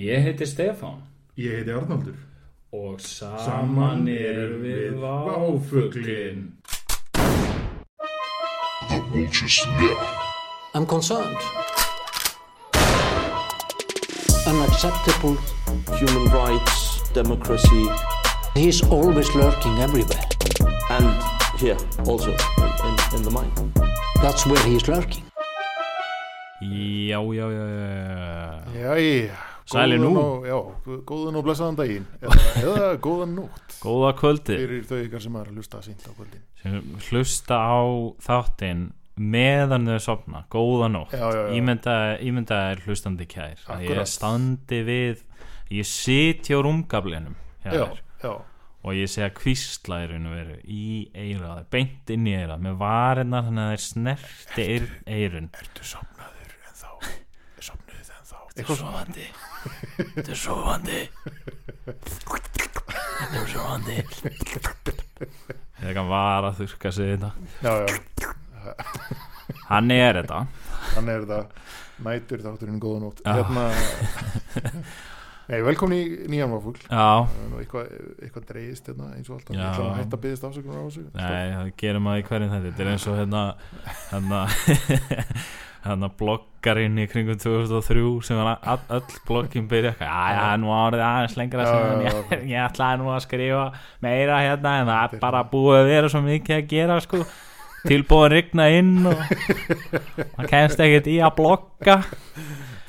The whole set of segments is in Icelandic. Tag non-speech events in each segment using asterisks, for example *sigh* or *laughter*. Ég heiti Stefán Ég heiti Arnaldur. og saman erum við váfuglin. I'm concerned. Unacceptable. human rights, democracy, He's always lurking everywhere. and here also in, in, in the mind. That's where he's lurking. Já, já, já, já. Jæja. Sælir góðan nú. og- Já, gu- góðan og blessaðan daginn eða, eða góðan nótt Góða kvöldi fyrir þau ykkar sem er að hlusta sínt á kvöldin sem hlusta á þáttinn meðan þau sopna. Góða nótt. Já, já, já. Ímynda, ímynda er hlustandi kær. Að Akkúrat. Ég standi við, ég sitja á rúmgaflinum hjá Já, þér já, og ég segja kvísla í raun og veru í eirað, beint inn í eirað með varinnar þannig að þeir snerti eir- eirun. ertu sopnaður en þá sopnuðu en þá Þetta er sofandi Þetta er sofandi Þetta er sofandi Þetta kann var að þurka sig þetta Já, já, Hann er þetta hann er það nætur þátturinn góðan nótt Já. Hérna Nei, velkomin í nýjan váfugl Já, Það er nú eitthvað, eitthvað dreigist hérna eins og alltaf Ég Já. ætla nú að hætta að byggðist afsökunar á þessu nei, það gerum maður í hverjum þetta Þetta er eins og hérna hérna, *laughs* hérna bloggarinn í kringum 2003 sem hann all, öll bloggin byrja eitthvað Já, já, nú árið aðeins lengra Já, sem *laughs* já, ég, já. ég ætlaði nú að skrifa meira hérna en það er bara búið að vera svo mikið að gera sko tilbúið að rigna inn *laughs* og maður kemst ekkert í að blokka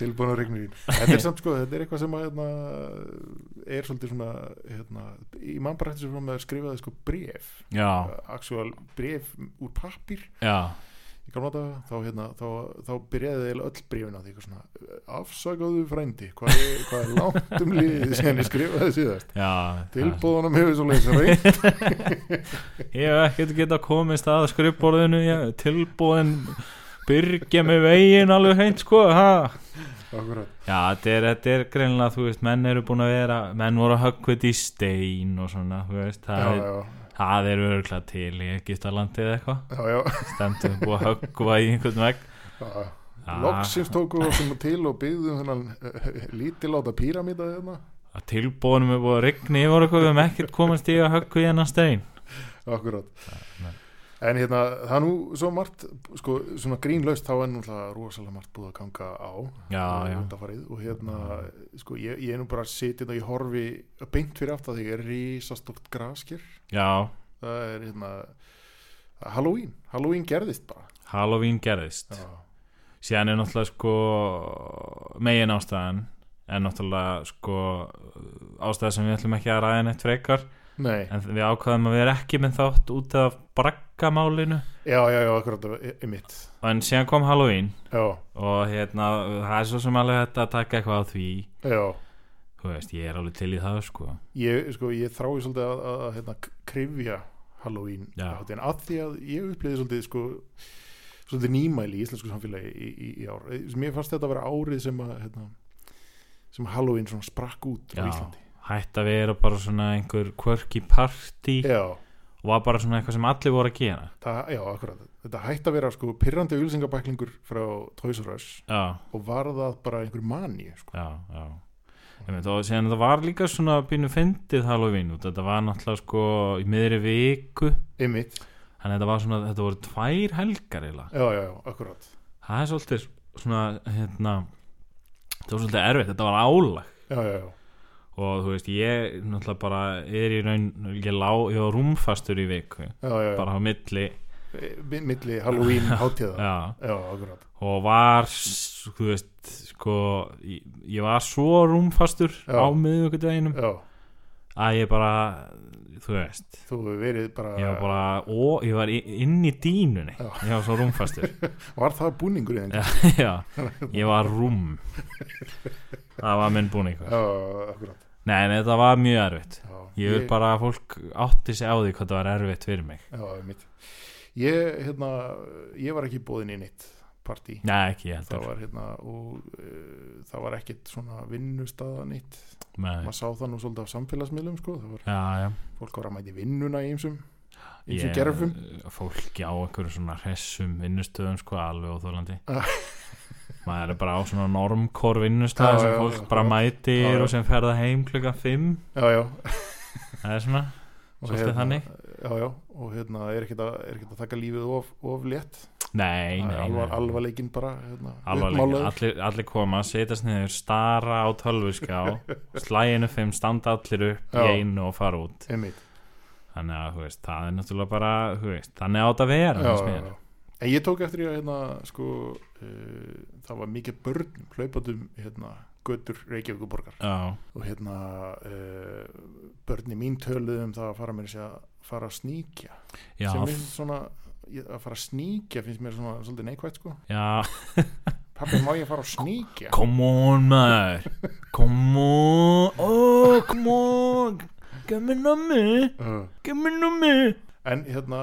tilbúin á regnirinn þetta er samt sko, þetta er eitthvað sem að, hérna, er svolítið svona hérna, í mann bara eftir sem að skrifaði sko bref Já, actual bref úr pappir já, í gamla daga, þá, hérna, þá, þá byrjaði þeir öll brefin á því eitthvað svona afsakaðu frændi, hvað er, hvað er langt um liðið sem ég skrifaði síðast já tilbúðanum hefur svo leiðis reynd Ég hef ekkert geta komist að skrifborðinu ég- tilbúin byrgja með veginn alveg hreint sko ha? akkurat, Já, þetta er, þetta er greinlega, þú veist, menn eru búin að vera menn voru að höggvita í stein og svona, þú veist, já, það, já, er, það er örgla til í Egiptalandi eða eitthvað já, já, stemdu búið að höggva í einhvern vegg já. Já. Loksins tóku við okkur til og byggðum þennan eh, lítiláta píramíta þarna að tilbúinum er búið að rigna yfir okkur við hefum ekkert komast í að höggva í hennar stein Akkurat En hérna, það er nú svo margt sko, svona grínlaust þá er náttúrulega rosalega margt búið að ganga á Já, eh, já. undanfarið og hérna sko, ég, ég er nú bara að sitja hérna, ég horfi beint fyrir aftan því, er risastort graskir Já, það er hérna Halloween, Halloween gerðist bara Halloween gerðist Já, síðan er náttúrulega sko megin ástæðan en náttúrulega sko ástæða sem við ætlum ekki að ræða neitt frekar Nei, en við ákvaðum að við erum ekki með þátt út af braggamálinu já, já, já, akkurat e-, einmitt, en síðan kom Halloween já, og hérna það er svo sem alveg hægt að taka eitthvað á því já þú veist, ég er alveg til í það sko ég, sko, ég þrái svolítið að, að, að hérna, krifja Halloween Já. hátíðina, af því að ég upplýði svolítið sko, svolítið nýmæli í íslensku samfélagi í, í, í ár mér fannst þetta að vera árið sem að hérna, sem að Halloween svona sprakk út á Já. Íslandi hætt að vera bara svona einhver quirky party já, og var bara svona eitthvað sem allir voru að gera það, já, akkurat þetta hætti að vera sko pyrrandi ulsingabæklingur frá Toys R Us já, og var það bara einhver mani sko. já, já Einmitt, og síðan það var líka svona pínu fyndið Halloween út, þetta var náttúrulega sko í miðri viku einmitt, þannig að þetta var svona, þetta voru tvær helgar eða, já, já, já, akkurat það er svolítið svona hérna, þetta var svolítið erfitt þetta var álag já, já, já, og þú veist, ég náttúrulega bara er í raun, ég lá ég var rúmfastur í viku, já, já, já. bara á milli Mi- milli *laughs* Halloween hátíða já, já, akkurat, og var s- þú veist, sko ég, ég var svo rúmfastur Já. á miðvikudeginum já að ég bara, þú veist þú hefur verið bara, ég var bara, ó, ég var í- inn í dýnunni Já. ég var svo *laughs* rúmfastur var það búningur í þengi já, já, ég var rúm það var minn búin eitthvað Já, akkurat nei, nei, þetta var mjög erfitt já, ég vil bara að fólk átti sig á því hvað það var erfitt fyrir mig já, mitt. ég, hérna, ég var ekki bóðin í neitt partí nei, ekki ég það heldur var, hérna, og, uh, það var ekkit svona vinnustaða neitt nei. maður sá það nú svolítið af samfélagsmiðlum sko. það var, já, já fólk var að mæti vinnuna í einsum einsum Ég- gerfum fólk á einhverjum svona hressum vinnustöðum sko alveg óþólandi maður er bara á svona normkor vinnustæð Já, sem já, fólk já, bara já. mætir Já, já. og sem ferða heim klukkan 5 já, já það er svona Og hérna- Svolítið þannig. já, já, og hérna er ekkert að, er ekkert að taka lífið of, of létt nei, Það nei, er nei. alvar, alvarleikinn bara hérna, alvarlega, uppmálaður. allir, allir koma setjast niður, stara á *laughs* tölvuskjá slæginu 5, standa allir upp Já. í einu og fara út Einmitt. þannig að, þú veist, það er náttúrulega bara þú veist, þannig átt að já, vera já, finnst mér. já. en ég tók eftir ég að hérna, sko, uh, það var mikið börn hlaupandum hérna, götur Reykjavíkuborgar Já, og hérna uh, börni mín töluðu um það að fara mér að segja- fara að sníkja já, sem finnst svona ég- að fara að sníkja finnst mér svona svolítið neikvægt sko já, pappi má ég fara að sníkja come on maður come on oh, come on gef mér námi uh. gef mér námi en hérna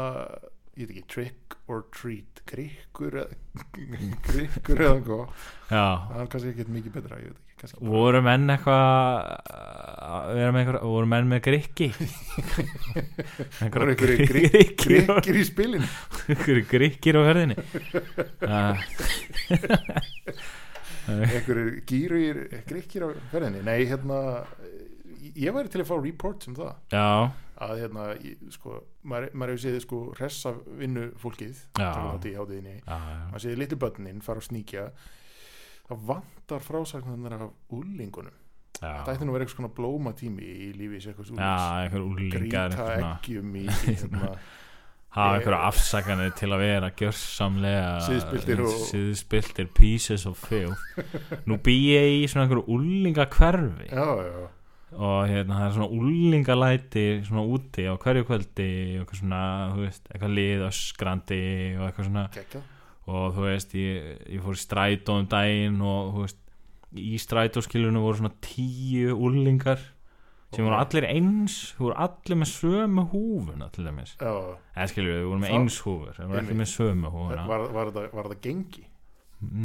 ég veit ekki trick or treat krikkur eða *laughs* krikkur eða hvað já, það er kannski ekkert mikið betra ég veit ekki kannski bara- voru menn eitthvað við erum einhver, voru menn með *laughs* grikki Voru einhverja einhverjir gri- gri- grikkir og- grikkir í spilin einhverju grikkir á *laughs* ferðinni uh, einhverjir gýrir grikkir á ferðinni nei hérna ég- ég væri til að fá reports um það já, að hérna, ég, sko, maður, maður hefur séð sko hressa vinnu fólkið Já. í hátíðinni, já, já. maður séð litlu börnin fara að sníkja það vantar frásagnar af úlingunum þetta já, ætti nú að vera eitthvað svona blóma tími í lífi sér eitthvað já úlings einhver úlingar grýta eggjum í í *laughs* hérna, hafa einhverja afsakanir til að vera gjörsamlega Siðspilltir og- síðspiltir pieces of *laughs* filth nú bý ég í svona einhverju úlinga hverfi já, já, og hérna það er svona úlingalæti svona úti á hverju kvöldi og eitthvað svona, þú veist, eitthvað lið öskrandi og eitthvað svona gekkja og þú veist, ég, ég fór í strætó um daginn og þú veist í strætóskilunum voru svona tíu úlingar sem voru allir eins, þú voru allir með sömu húfuna til dæmis já, eða skilur við, við vorum með Þá- eins húfur við vorum ekki Einmitt. með sömu húfuna var, var, það, var það gengi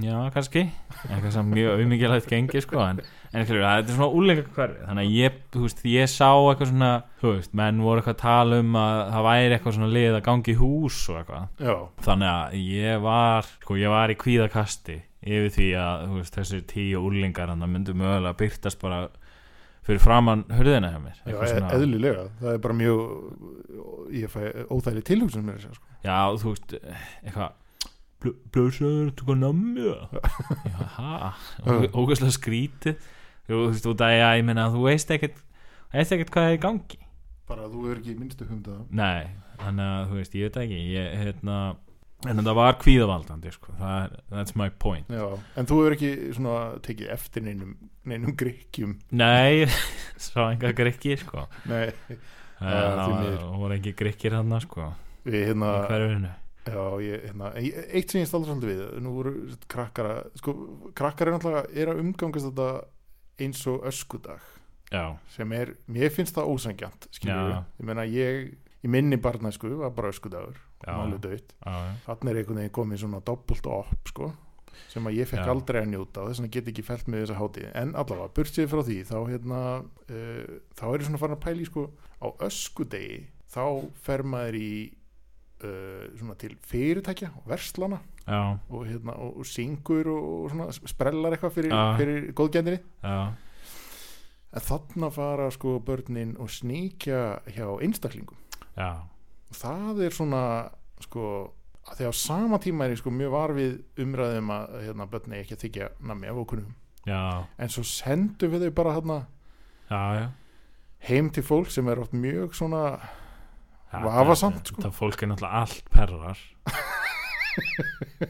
já, kannski, eitthvað sem mjög auðmikilegt gengi sko, en, en skilur við, það er svona úlinga hverfi, þannig að ég, þú veist ég sá eitthvað svona, þú veist, menn voru eitthvað að tala um að það væri eitthvað svona lið að gangi hús og eitthvað já, þannig að ég var sko, ég var í kvíðakasti yfir því að þú veist, þessi tíu úlingar þannig að myndu mögulega byrtast bara fyrir framann hörðina hjá mér já Eitthvað e- svona- eðlilega það er bara mjög ég fæ óþæli tilhugsun með þessu sko. já, þú veist, eitthvað blöðsöður, þú kom nammi já, hæ ógæslega skrítið þú veist, út af því að ég meina þú veist ekkert veist ekkert hvað er í gangi bara þú er ekki í minnstu humdaða Nei, þannig að þú veist, ég veit ekki ég, hérna, en það var kvíðavaldandi sko, það er, that's my point Já, en þú hefur ekki svona tekið eftir neinum, neinum gríkjum Nei, *laughs* sá enga grikki sko Nei, Eh, Já, Það því var- miður. það voru ekki grikkir hann sko, við hérna í hverfinu Já, ég, hérna, ég- eitt sem ég staldra svolítið við Nú voru sett krakkara sko, Krakkar er náttúrulega er að umgangast þetta eins og öskudag Já, sem er, mér finnst það ósangjant skilur Já. ég meina ég í minni barnæsku var bara öskudagur Já. máli döitt, já, já. þannig er einhvern veginn komið svona doppult upp sko sem að ég fekk Já. aldrei að njóta og þess vegna get ég ekki fælt með þessa hátíð en allavega, burtsið frá því þá, hérna, uh, þá er ég svona farin að pæla í sko á öskudegi þá fer maður í uh, svona til fyrirtækja og verslana já, og, hérna, og, og syngur og, og svona sprellar eitthvað fyrir, Já. fyrir góðgændinni já, en þarna fara sko börnin og sníkja hjá einstaklingum já, og það er svona sko að því á sama tíma er ég sko mjög var við umræðum að hérna, börni ekki að þykja nammi af okunum já, en svo sendum við þau bara hérna já, já. heim til fólk sem er oft mjög svona Þetta- Vafasamt, sko. Þetta fólk er náttúrulega allt *laughs* perrar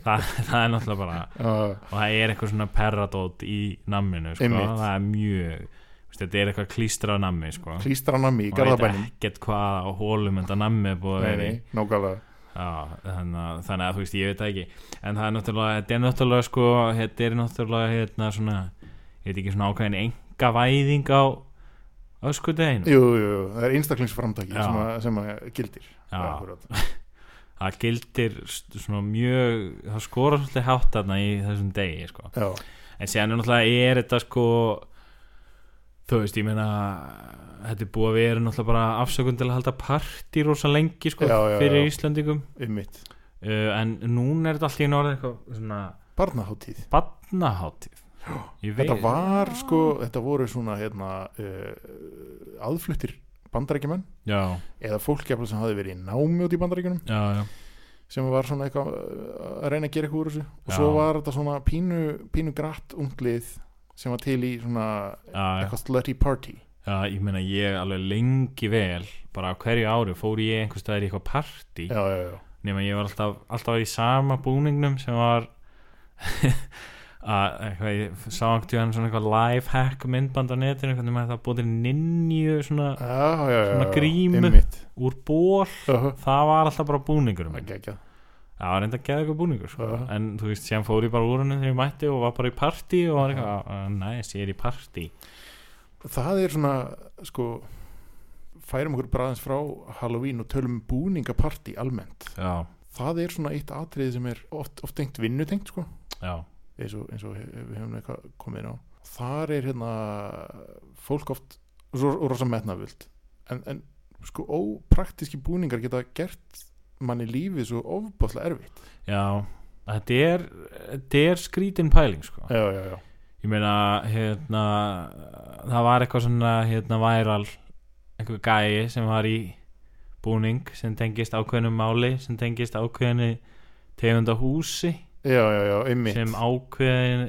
Þa, Það er náttúrulega bara uh, og það er eitthvað svona perradót í namminu sko, Einmitt. það er mjög þú veist, þetta er eitthvað klístrað nammi sko klístra nammi í Maður veit garðabænum ekkert hvað á hólum en það nammi er búið að nei, vera í nei, nákvæmlega Já, þannig að, þannig að þú veist, ég veit það ekki en það er náttúrulega, þetta er náttúrulega sko, þetta er náttúrulega hérna svona ég veit ekki svona ákveðin enga væðing á öskudeginu jú, jú, jú, það er einstaklingsframtaki Já. sem að, sem að gildir Já. Akkúrat. það gildir st- svona mjög það skora svolítið hátt þarna í þessum degi sko. Já. en síðan er náttúrulega er þetta sko þú veist, ég meina þetta er búið að vera náttúrulega bara afsökun til að halda partí rosa lengi sko, Já, já, fyrir já. Íslandingum um mitt uh, en núna er þetta allt í norð eitthvað svona barnaháttíð Barnaháttíð Ég veit þetta var sko, þetta voru svona hérna, uh, aðfluttir bandarækjumenn Já, eða fólk jafnvel sem hafi verið í námi út í bandarækjunum já, já sem var svona eitthvað uh, að reyna að gera eitthvað úr þessu og Já. svo var þetta svona pínu, pínu gratt unglið sem var til í svona Já, já. eitthvað slutty party Já, ég meina ég alveg lengi vel bara á hverju ári fór ég einhvers staðar í eitthvað partí já, já, já, nema ég var alltaf, alltaf í sama búningnum sem var *laughs* að eitthvað, ég sá einhvern hann svona eitthvað lifehack myndband á netinu hvernig maður það búið ninju svona já, já, já, já. Svona grímu. einmitt úr ból uh, það var alltaf bara búningur minn geggjað. það var reynda að geða eitthvað búningur sko. Já. en þú veist, sem fór ég bara úr henni þegar ég mætti og var bara í partí og var eitthvað, næs, ég er í partí það er svona sko færum okkur bara aðeins frá Halloween og tölum um búningapartí almennt já, það er svona eitt atrið sem er oft, oft tengt vinnutengt sko já, eins og, eins og he- við hefum eitthvað komið inn á þar er hérna fólk oft ro- og rosa metnafullt en, en sko ópraktíski búningar geta gert manni lífið svo ofbóðslega erfitt já þetta er, þetta er skrítin pæling sko. já, já, já, ég meina hérna, það var eitthvað svona hérna væral einhver gæi sem var í búning sem tengist ákveðnum máli sem tengist ákveðinu tegunda húsi já, já, já einmitt sem ákveðin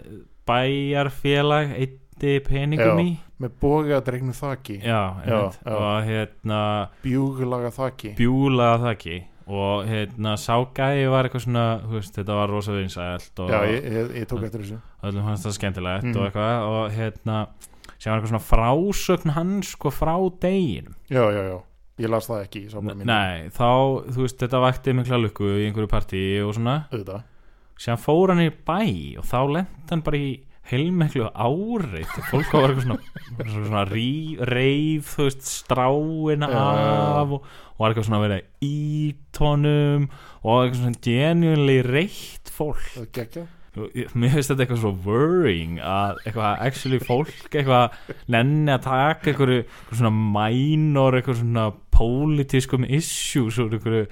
bæjarfélag eitti peningum Já. í með boga dregnu þaki, já, einmitt. já. og hérna bjúglaga þaki bjúlaða það ekki og hérna ságæði var eitthvað svona þú veist, þetta var rosa vinsælt og já, ég, ég, ég tók eftir þessu öllum fannst það skemmtilegt Mhm. og eitthvað og hérna sem var eitthvað svona frásögn hans sko frá deginum já, já, já, ég las það ekki ég sá bara mín nei, þá, þú veist, þetta vakti mikla lukku í einhverju partíi og svona auðvitað sem fór hann í bæ og þá lent hann bara í heilmiklu áreit fólk var eitthvað svona, svona rí, reif þú veist, stráina Já, já, já. af og, og var eitthvað svona að vera í tónum og eitthvað svona genuinely reitt fólk það gekkja Og ég- mér finnst þetta eitthvað svo worrying að eitthvað actually fólk eitthvað nenni að taka eitthvað, eitthvað svona minor eitthvað svona pólitískum issues úr eitthvað,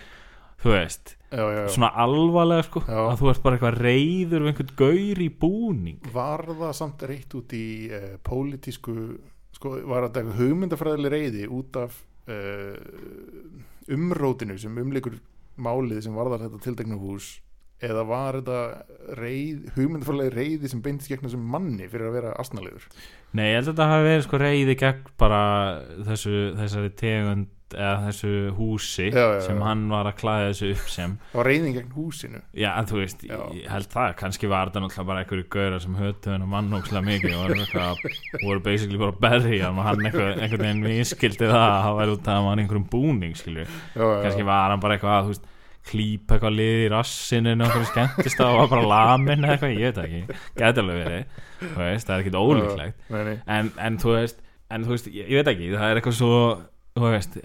þú veist já, já, já. svona alvarlega sko Já. að þú ert bara eitthvað reyður við einhvern gaur í búning var það samt reitt út í uh, pólitísku sko, var þetta eitthvað hugmyndafræðileg reyði út af uh, umrótinu sem umleikur málið sem varðar þetta tiltekna hús eða var þetta reyð, hugmyndafræðileg reyði sem beintist gegn þessum manni fyrir að vera astnalegur Nei, ég held að þetta hafi verið sko reyði gegn bara þessu, þessari tegund eða þessu húsi Já, já, já. sem hann var að klæða þessu upp sem það var reyðin gegn húsinu já, en þú veist, Já. ég held það kannski var þetta náttúrulega bara einhverju gauðra sem höfðu hennar mann ókslega mikið og voru eitthvað- voru basically bara að berja og hann eitthvað, einhvern veginn miskildi það að það væri út af að hann var í einhverjum búning skilju já, já, kannski var hann bara eitthvað að þú veist klípa eitthvað lið í rassinu en okkur skemmtist að það var bara lamin eða eitthvað, ég veit það ekki, gæti alveg verið þú veist, það er ekkit ólíklegt nei, nei. en, en þú veist, en þú veist ég, ég veit ekki, það er eitthvað svo þú veist,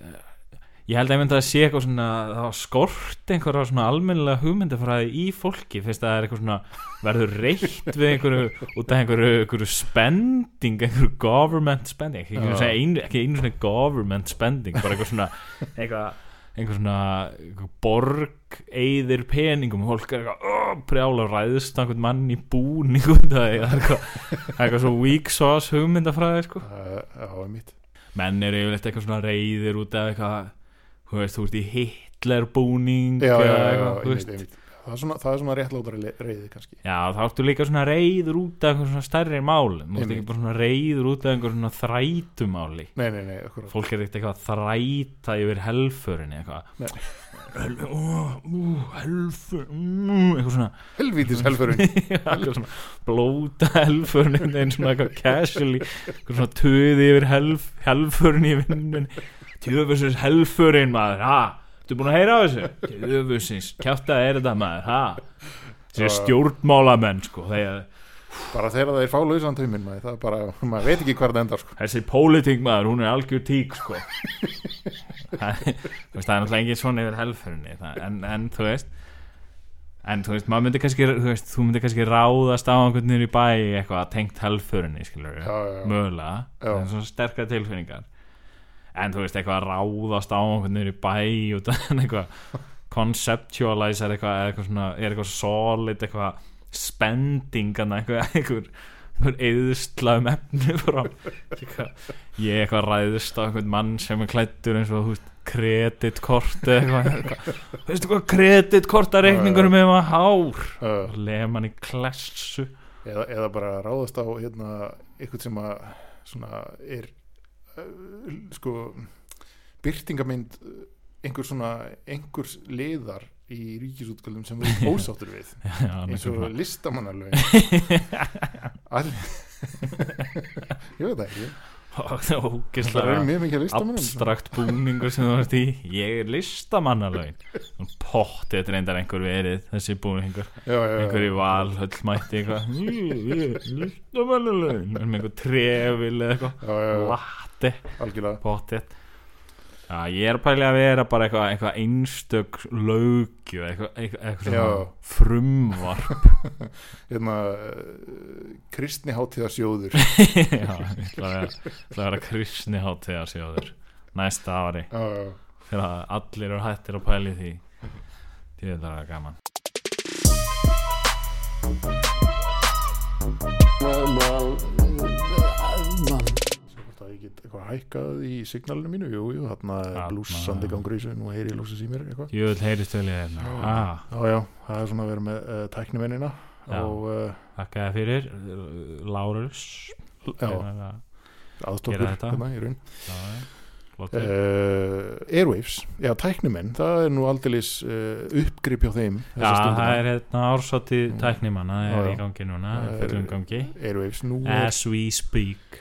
ég held að ég myndi að sé eitthvað svona, það var skort einhverja svona almennilega hugmyndafræði í fólki fyrst að það er eitthvað svona, verður reitt við einhverju, út af einhverju, einhverju spending, einhverju government spending, ekki, Já. einhverju segja einu, ekki einu svona government spending, bara eitthvað svona eitthvað einhver svona einhver borg eyðir peningum og fólk er eitthvað prjála og ræðist á einhvern mann í búning *laughs* út af því. það er eitthvað Það er eitthvað svo weak sauce hugmyndafræði sko. Uh, já, einmitt menn eru yfirleitt eitthvað svona reyðir út af eitthvað þú veist, þú ert í Hitler búning já, já, já, já, eitthvað, þú einmitt, veist. einmitt. Það, er svona, það er svona réttlátari reyði kannski já, þá ertu líka svona reyður út af eitthvað svona stærri málum þú ert Einmitt. ekki bara svona reyður út af einhver svona þrætumáli nei, nei, nei, akkurat fólk er ekkert eitthvað að þræta yfir helförinni Nei. eitthvað Hel- ó, ú, helför mm, eitthvað svona helvítis *laughs* helfurinn *laughs* Eitthvað svona blóta helförnin einn svona eitthvað casually eitthvað svona töði yfir helf, helförnin í vinnun tjöfusins helförin maður ha, ertu búin að heyra á þessu tjöfusins, kjátt að er þetta maður ha, þessi Já. stjórnmálamenn sko, þegar bara þegar það er fálausan tauminn maður, það er bara, maður veit ekki hvar það endar sko. þessi pólitík maður, hún er algjör tík sko það þú veist, það er náttúrulega engin svona yfir helförinni það- en, en þú veist en þú veist, maður myndi kannski þú, veist, þú myndi kannski ráðast á einhvern niður í bæ eitthvað tengt helförinni, skilur já, já, já. mögulega, Já. það er svona sterkar tilfinningar en þú veist, eitthvað að ráðast á einhvern niður í bæ *laughs* og það er eitthvað conceptualize er eitthvað, eða eitthvað svona, er eitthvað solid eitthvað spending hann eitthvað *laughs* einhver, einhver eðusla um efni frá Ekki hvað- ég er eitthvað ræðist á einhvern mann sem er klættur eins og þú veist kreditkort eða eitthvað, eitthvað veistu hvað kreditkortareikningur með maður hár uh, lef mann í klessu *laughs* eða, eða bara ráðast á hérna, eitthvað sem að svona er uh, sko byrtingamynd uh, einhver svona einhvers liðar í ríkisútgjöldum sem við erum ósáttur við Já, eins og nákvæmlega. listamannalögin All... *laughs* ég veit það ekki og það er það *laughs* eru ógeðslega mjög mikið listamannum abstrakt búningur sem þú varst í ég er listamannalögin pott, þetta er reyndar einhver verið þessi búningur, einhver í val höllmætti eitthvað listamannalögin, er með einhver trefil eða eitthvað, latte algjörlega pottet Já, ég er pælið að vera bara eitthvað, eitthvað einstök lögju eitthvað, eitthvað, eitthvað svona Já. frumvar hérna, uh, *laughs* kristni *laughs* hátíðarsjóður Já, ég ætla að vera, ætla að vera kristni hátíðar sjóður næsta ári Já, já. þegar allir eru hættir að pæli því því þetta er gaman Well, well, uh, uh, Sjá hvort að ég get eitthvað hækkað í signalinu mínu jú, jú, þarna er Þarna. blúsandi gangur í þessu nú heyri ég lúsið í mér eitthvað Jú, þetta heyrist vel í þeirna ah, já, já, það er svona að vera með uh, tæknivinnina Já. og uh, Þakka þér fyrir, Lárus já, Já, aðstofkur Gera þetta. hérna í raun já, Eh, flott. uh, Airwaves, já, tæknimenn það er nú aldeilis uh, uppgrip hjá þeim Já, það er hérna ársátti tæknimanna það er Mm. Já, í já. gangi núna, Það í er- fullum gangi Airwaves, nú, er- As we speak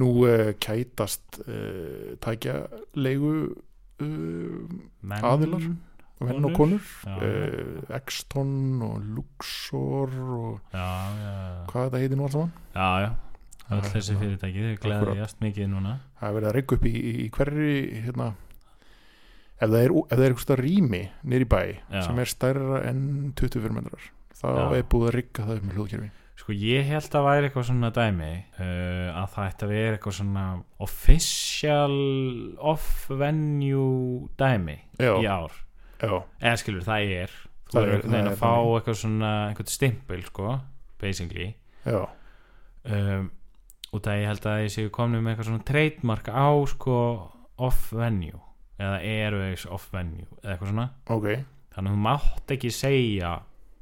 nú uh, kætast uh, tækja leigu uh, Men, Aðilar? menn og konur Já, uh, Exton og Luxor og já, já, hvað þetta heitir nú alls saman já, já. Öll Það er hérna. þessi svona- fyrirtæki, þau Akkurat. gleðjast mikið núna það er verið að reyka upp í, í hverri hérna ef það er, ef það er eitthvað rými nýri bæ Já. sem er stærra en 24 metrar þá Já. er búið að rygga það upp með hljóðkerfi Sko ég held að væri eitthvað svona dæmi uh, að það ætti að vera eitthvað svona official off-venue dæmi já, í ár já, eða skilur það er þú Það verður er- einhvern það veginn er að fá þannig. eitthvað svona eitthvað stimpil sko, basically já, um, út að ég held að ég séu komin með eitthvað svona trademark á sko off-venue eða airways off-venue eða eitthvað svona ok þannig að þú mátt ekki segja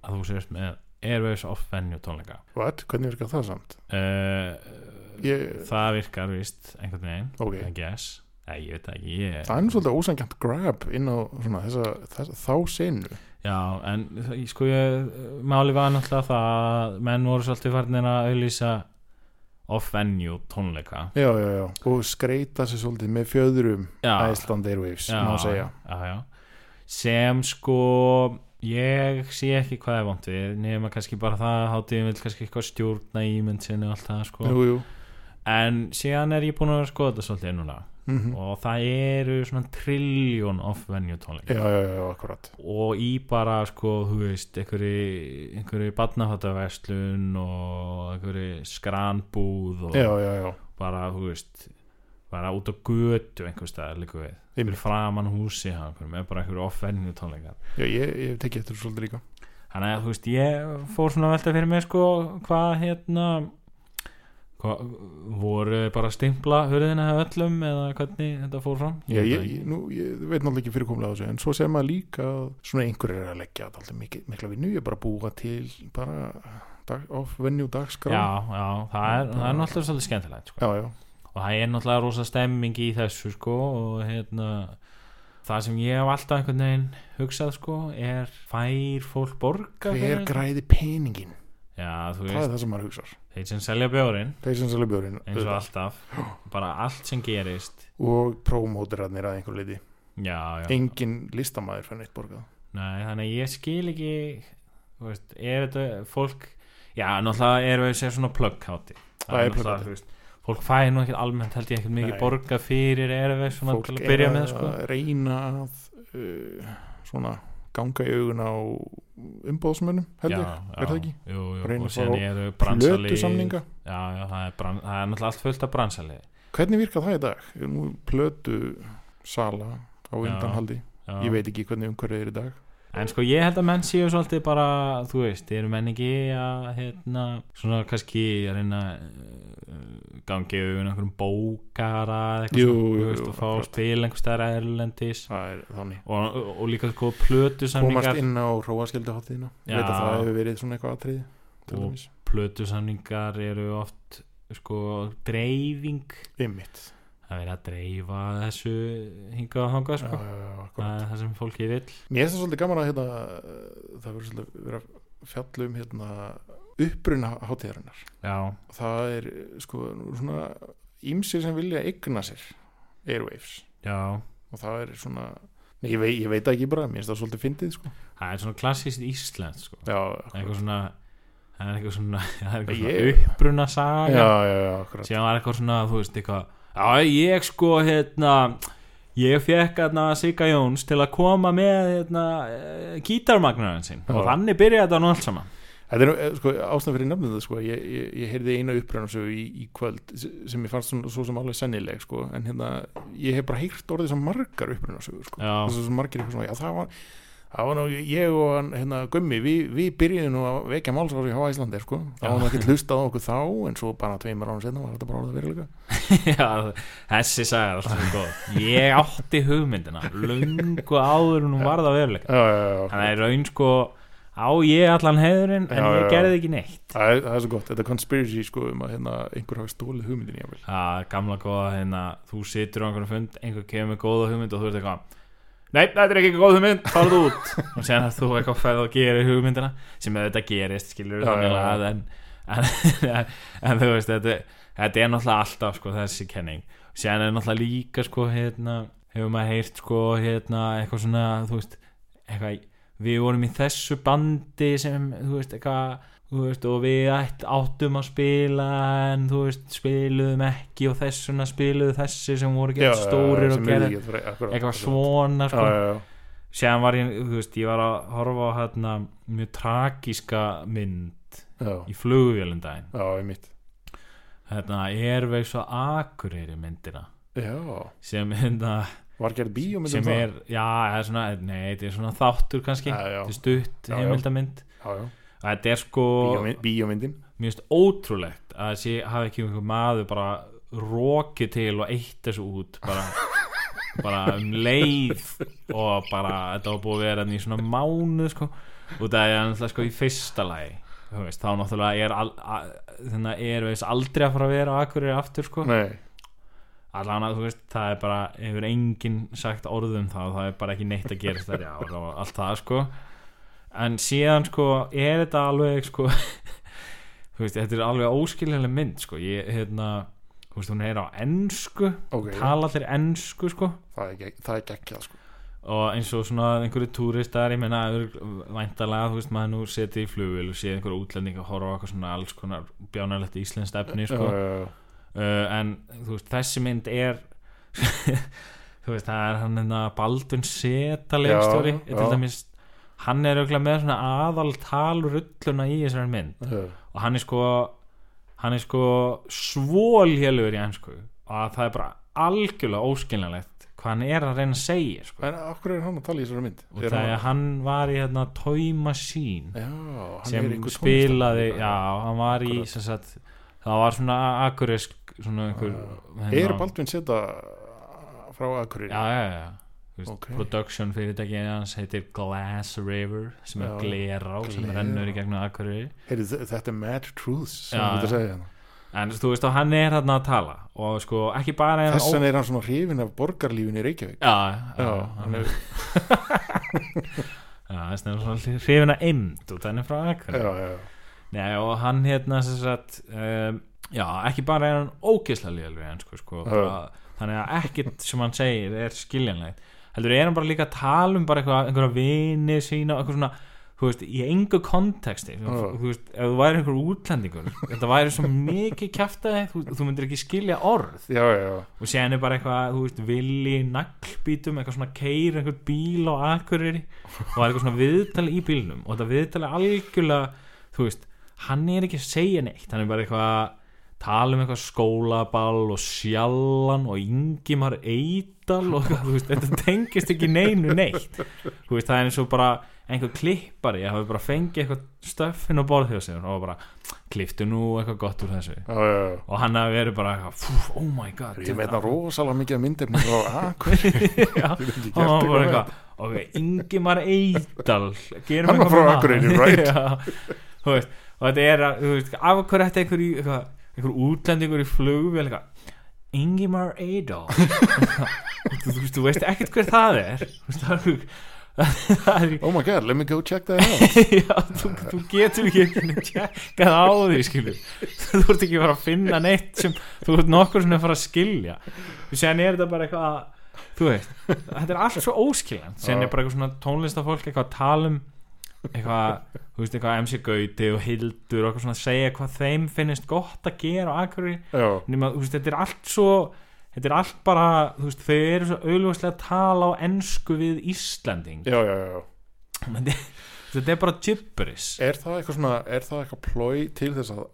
að þú sést með airways off-venue tónleika What? hvernig virkar það samt? uh, Ég, það virkar víst einhvern veginn Ok. I guess Nei, ég veit það ekki ég... það er nú svolítið ósangjant grab inn á svona, þessa, þessa, þá senu já, en það- ég- sko ég, máli var náttúrulega það að menn voru svolítið farnir að auðlýsa off-venue tónleika já, já, já, og skreita sér svolítið með fjöðrum já, Iceland Airwaves, já, má segja já, já. sem sko ég sé ekki hvað er vant við nema kannski bara það að hátíðin vil kannski eitthvað stjórna ímynd sinni og allt það sko jú, jú, en síðan er ég búin að vera að skoða þetta svolítið núna mm og það eru svona trilljón off-venue tónleika já, já, já, já, akkurat og í bara sko, þú veist, einhverju einhverju barnafattaverslun og einhverju skranbúð og já, já, já, bara, þú veist bara út á götu einhver staðar líka við fyrir Einmitt. framan húsi hjá einhverjum, með bara einhverju off-venju tónleikar já ég, ég hef tekið eftir þessu svolítið líka þannig að þú veist, ég fór svona að velta fyrir mig sko, hvað hérna hvað, voru þau bara að stimpla hurðina hjá öllum eða hvernig þetta fór fram Já, veit ég, það ekki. ég, nú, ég veit náttúrulega ekki fyrirkomlega á þessu en svo segir maður líka að svona einhverjir er að leggja alltaf mikil, mikla vinnu ég bara búa til bara dag, off venue dagskrá já, já, það er, það er náttúrulega svolítið skemmtilegt sko. já, já, og það er náttúrulega rosa stemming í þessu sko og hérna það sem ég hef alltaf einhvern veginn hugsað sko er fær fólk borga hver þetta? græði peningin já þú það er veist, það sem maður hugsar þeir sem selja bjórin þeir sem selja björinn eins og alltaf, bara allt sem gerist og prómóterarnir að einhver leiti já, já, engin listamæður fenni eitt borgað nei þannig að ég skil ekki þú veist, er þetta fólk já, náttúrulega er við sér svona plugg háti Það er plugg náttúrulega, hátíð. þú veist, fólk fæði nú ekkert almennt held ég ekkert mikið Nei. borga fyrir er við svona fólk til að er byrja að með sko reyna að uh, svona ganga í augun á umbóðsmönnum held ég, er það ekki? Jú, jú, Reyna og að fá síðan eru Plötu bransalið samninga já, já, það, er bran, það er náttúrulega allt fullt af bransalið Hvernig virkar það í dag? Nú plötu sala á undanhaldi já. Ég veit ekki hvernig umhverfið er í dag en sko ég held að menn séu svolítið bara þú veist, eru menn ekki að hérna, svona kannski að reyna uh, gangi við einhverjum bókara eða eitthvað Jú, svona, jú, þú veist, jú, og fá akkurat. spil einhver stærra erlendis það er þannig og, og líka sko komast plötusamningar inn á róaskildaháttíðina Já. veit að það hefur verið svona eitthvað atriði til Og- dæmis, plötusamningar eru oft sko dreifing ymmit það verið að dreifa þessu hingað og hangað sko það er það sem fólki vill mér finnst það svolítið gaman að hérna, uh, það verður svolítið verið að fjalla um hérna, uppruna hátíðarinnar já, það er uh, sko svona ímsir sem vilja eigna sér Airwaves já, og það er svona Nei, ég, veit, ég veit það ekki bara, mér finnst það svolítið fyndið sko. það er svona klassist Ísland sko. já, það er eitthvað svona það er eitthvað svona, *laughs* það er eitthvað Ég- svona uppruna já, saga já, já, akkurat síðan var eitthvað svona, þú veist, eitthvað já, ég sko, hérna ég fekk hérna Sigga Jóns til að koma með hérna eh, gítarmagnarinn sinn Já. og þannig byrjaði þetta nú allt saman Þetta er nú, eh, sko, ástæðan fyrir nefnum það sko. ég, ég, ég heyrði eina upprænum í, í kvöld s- sem ég fannst svona, svo sem alveg sennileg sko. en hérna, ég hef bara heyrt orðið sem margar upprænum sko. Já. þess að margir eitthvað svona, já það var það var nú, ég og hann, hérna Gummi við, við byrjuðum nú að vekja málsvári á Íslandi sko. það var nú ekkert hlustað á okkur þá en svo bara tveimur ánum setna var þetta bara orðið veruleika *laughs* já, þessi saga er alltaf svo góð ég átti hugmyndina lungu áður en hún varð að veruleika já, já, já, þannig að í raun sko á ég allan heiðurinn en Já, ég já, já. gerði ekki neitt Það er, það er svo gott, þetta conspiracy sko um að hérna, einhver hafi stólið hugmyndin ég vel það er gamla góða hérna þú situr á einhvern fund, einhver kemur með góða hugmynd og þú ert eitthvað Nei, þetta er ekki góð hugmynd, farðu út *laughs* og séðan að þú eitthvað fæði og gerir hugmyndina sem þetta gerist, skilur Já, þannig já, já. að en, *laughs* en, en, en þú veist, þetta, þetta er náttúrulega alltaf sko, þessi kenning séðan er náttúrulega líka sko, hérna, hefur maður heyrt sko, hérna, eitthvað svona þú veist, eitthvað, við vorum í þessu bandi sem þú veist, eitthvað þú veist, og við ætt, áttum að spila en þú veist, spiluðum ekki og þessuna spiluðu þessi sem voru gett stórir og gerði eitthvað svona sko. svona síðan var ég, þú veist, ég var að horfa á hérna mjög tragíska mynd í flugvélundaginn Já, ég mitt hérna, er veik svo akureyri myndina Já, sem, hérna, var gerð bíómynd um sem það? er, já, það er svona nei, þetta er svona þáttur kannski Já, já. þetta er stutt Já, já. heimildamynd Já, já, og þetta er sko Bíómynd, bíómyndin mér finnst ótrúlegt að þessi hafi ekki einhver maður bara rokið til og eitt þessu út *laughs* bara, bara um leið og bara þetta var búið að vera þarna í svona mánuð sko, og það er náttúrulega sko í fyrsta lagi þú veist, þá náttúrulega er al, a, þannig að er veist aldrei að fara að vera á Akureyri aftur sko Nei, allan að þú veist, það er bara hefur enginn sagt orðum það það er bara ekki neitt að gerast þar já, og allt það sko en síðan sko, er þetta alveg sko *laughs* þú veist, þetta er alveg óskiljanleg mynd sko, ég, hérna þú veist, hún er á ennsku ok, tala allir ennsku sko það er, gegg- það er geggjað sko og eins og svona einhverju túristar ég meina, örugg- væntanlega, þú veist, maður nú seti í flugvél og sé einhverju útlending að horfa á eitthvað svona alls konar bjánalegt íslenskt efni sko Já, já, já. uh, en þú veist, þessi mynd er *laughs* þú veist, það er hann hérna Baldun Seta leikstjóri Já, til já. dæmis, hann er auðvitað með svona aðaltal rulluna í þessari mynd Já, og hann er sko hann er sko svólhjálfur í ennsku að það er bara algjörlega óskiljanlegt hvað hann er að reyna að segja sko. En af hverju er hann að tala í þessari mynd? og það er að hann var í hérna Tóima Sín Já, hann sem er einhver tónlistar- spilaði já, hann var í Akkurat. sem sagt, það var svona akurisk svona einhver Er hérna- Baldvin Seta frá Akureyri? já, já, já Þú veist, Ok. production fyrirtækið hans heitir Glass River sem er Já. glerá sem Glerá. rennur í gegnum Akureyri Heyrðu, þe- þetta er Mad Truths sem Já, þú ert að já. segja hérna en þú veist og hann er hérna að tala og sko ekki bara er hann ó- Þess vegna er hann svona hrifin af borgarlífinu í Reykjavík já, já, Já, hann hann er er- *laughs* já, þess vegna er hann svona hrifin að end og hann er frá Já, Akureyri já, já Nei, og hann hérna sem sagt um, já ekki bara er hann ógeðslega liðalveg en sko, sko Já. bara- þannig að ekkert sem hann segir er skiljanlegt heldur er hann bara líka að tala um bara eitthvað, einhverja vini sína og eitthvað svona þú veist, í engu konteksti þú, Já. þú veist, ef þú væri einhver útlendingur þetta væri svo mikið kjaftaði þú, þú myndir ekki skilja orð já, já, já. og séðan er bara eitthvað, þú veist, villi naglbítum, eitthvað svona keir einhver bíl á akureyri og það er eitthvað svona viðtal í bílnum og þetta viðtal er algjörlega þú veist, hann er ekki að segja neitt hann er bara eitthvað að tala um eitthvað skólaball og sjallan og Ingimar Eidal og eitthvað, þú veist, þetta tengist ekki neinu neitt þú veist, það er eins og bara einhver klippari, ég hafi bara fengið eitthvað stöffin á borð hjá sér og bara klipptu nú eitthvað gott úr þessu já, já, já. og hann hafi verið bara eitthvað, "Fú, oh my god Ég meina rosalega mikið af myndefni frá *laughs* Akur *laughs* já, Ég veit ekki og hann var eftir bara hvað eitthvað ok, Ingimar Eidal gerum Hann var eitthvað frá með hann." Akureyri, right? *laughs* já, þú veist, og þetta er að, þú veist, af hverju þetta einhver, í- eitthvað- einhver útlendingur í flugvél eitthvað Ingimar *laughs* Eidal Og þú, þú, veist, þú veist ekkert hver það er Þú veist, það er- *laughs* það er Oh my god, let me go check that out *laughs* já, þú, þú getur ekki einhvern veginn tjekkað á því skilur þú ert ekki að fara að finna neitt sem þú ert nokkur svona að fara að skilja og sen er þetta bara eitthvað að, þú veist, þetta er allt svo óskiljan sen er bara eitthvað svona tónlistafólk eitthvað að tala um eitthvað, þú veist, eitthvað MC Gauti og Hildur og eitthvað svona að segja hvað þeim finnist gott að gera og akkurri Já, nema, þú veist, þetta er allt svo þetta er allt bara, þú veist, þau eru svo auðljóslega að tala á ensku við Íslanding já, já, já Men þetta- þetta er bara gibberish Er það eitthvað svona, er það eitthvað plói til þess að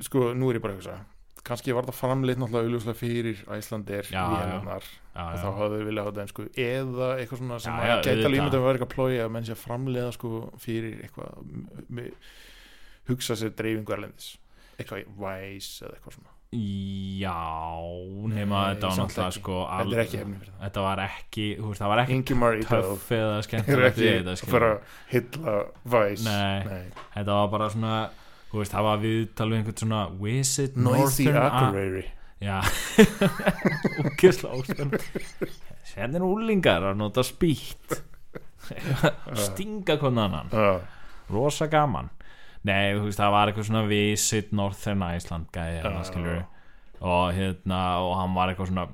Sko, nú er ég bara að hugsa Kanski var það framleitt náttúrulega auðljóslega fyrir Æslandir Já, já. vélarnar já, og já. þá hafðu við viljað á þetta en sko eða eitthvað svona sem Já, að já, gæti alveg auðvitað. ímyndum að vera eitthvað plói að menn sé að framleiða sko fyrir eitthvað m- m- hugsa sér dreifingu erlendis eitthvað væs eða eitthvað svona Já, nema Nei, þetta var samt náttúrulega ekki. sko Þetta er ekki hefni fyrir það Þetta var ekki, þú veist, það var ekki Ingimar Idol töff eða er skemmtilegt ekki við þetta, að skilur. fara að hylla væs Nei. Þetta var bara svona, þú veist, það var viðtal við einhvern svona Wizard Noisy Northern A- Akureyri Já, *laughs* úkesslega óspenn Sennir úlingar Hérna að nota spýtt Uh, Stinga hvernig annan Já, Rosa gaman Nei, þú veist, það var eitthvað svona Visit Northern Iceland gæði Já. hérna, skilur og hérna, og hann var eitthvað svona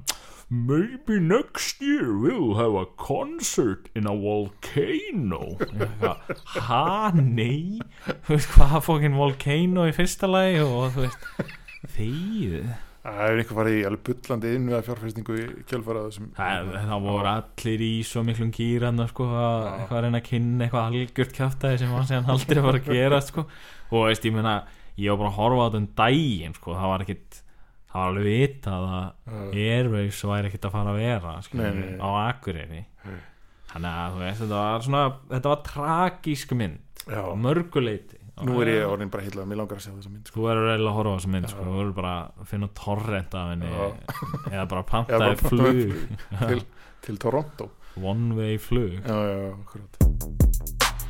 Maybe next year we'll have a concert in a volcano Eitthvað, Ha, nei Þú veist, hvað fókin volcano í fyrsta lagi og þú veist Þegið það er einhver farið í alveg bullandi inn við að fjárfæstingu í kjölfarað sem Það, það voru allir í svo miklum gýran sko, að eitthvað að reyna að kynna eitthvað algjört kjáftæði sem var síðan aldrei var að gera sko. og veist, ég meina ég var bara að horfa á þetta um daginn sko. það var ekkit það var alveg vitað Uh, að Airwaves væri ekkit að fara að vera sko, Nei, nei, nei. á Akureyri þannig að þú veist, þetta var svona þetta var tragísk mynd Já. á mörguleiti Nú er ég orðin bara hillað, mér langar að sjá þessa mynd sko. Þú verður eiginlega að horfa á þessa mynd sko. Þú verður bara að finna torrent af henni Eða bara Eða bara pantaði panta flug til, til Toronto One way flug Já, já, já, akkurat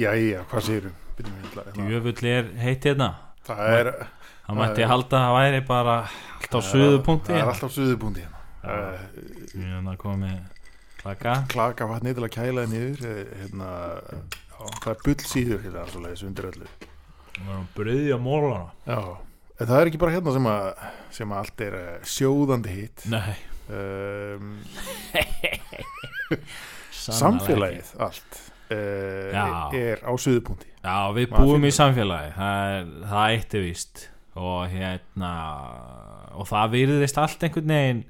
Jæja, hvað sérum? Jöfull er heitt hérna hérna. Það er, Það Það mætti er- halda að það væri bara allt á suðu punkti hérna það er alltaf suðubúndi hérna. Eh, Þannig að koma með klaka klaka vatni til að kæla þið niður eh, hérna, já, það er bull síður hérna, svoleiðis, undir öllu Það var að bröðja mólana já, en það er ekki bara hérna sem að, sem að allt er eh, sjóðandi hitt Nei, um, sannarlega ekki. samfélagið allt uh, Já. er á suðupúndi Já, við Maður búum í finnur- samfélagi Það, er, það eitti víst Og hérna Og það virðist allt einhvern veginn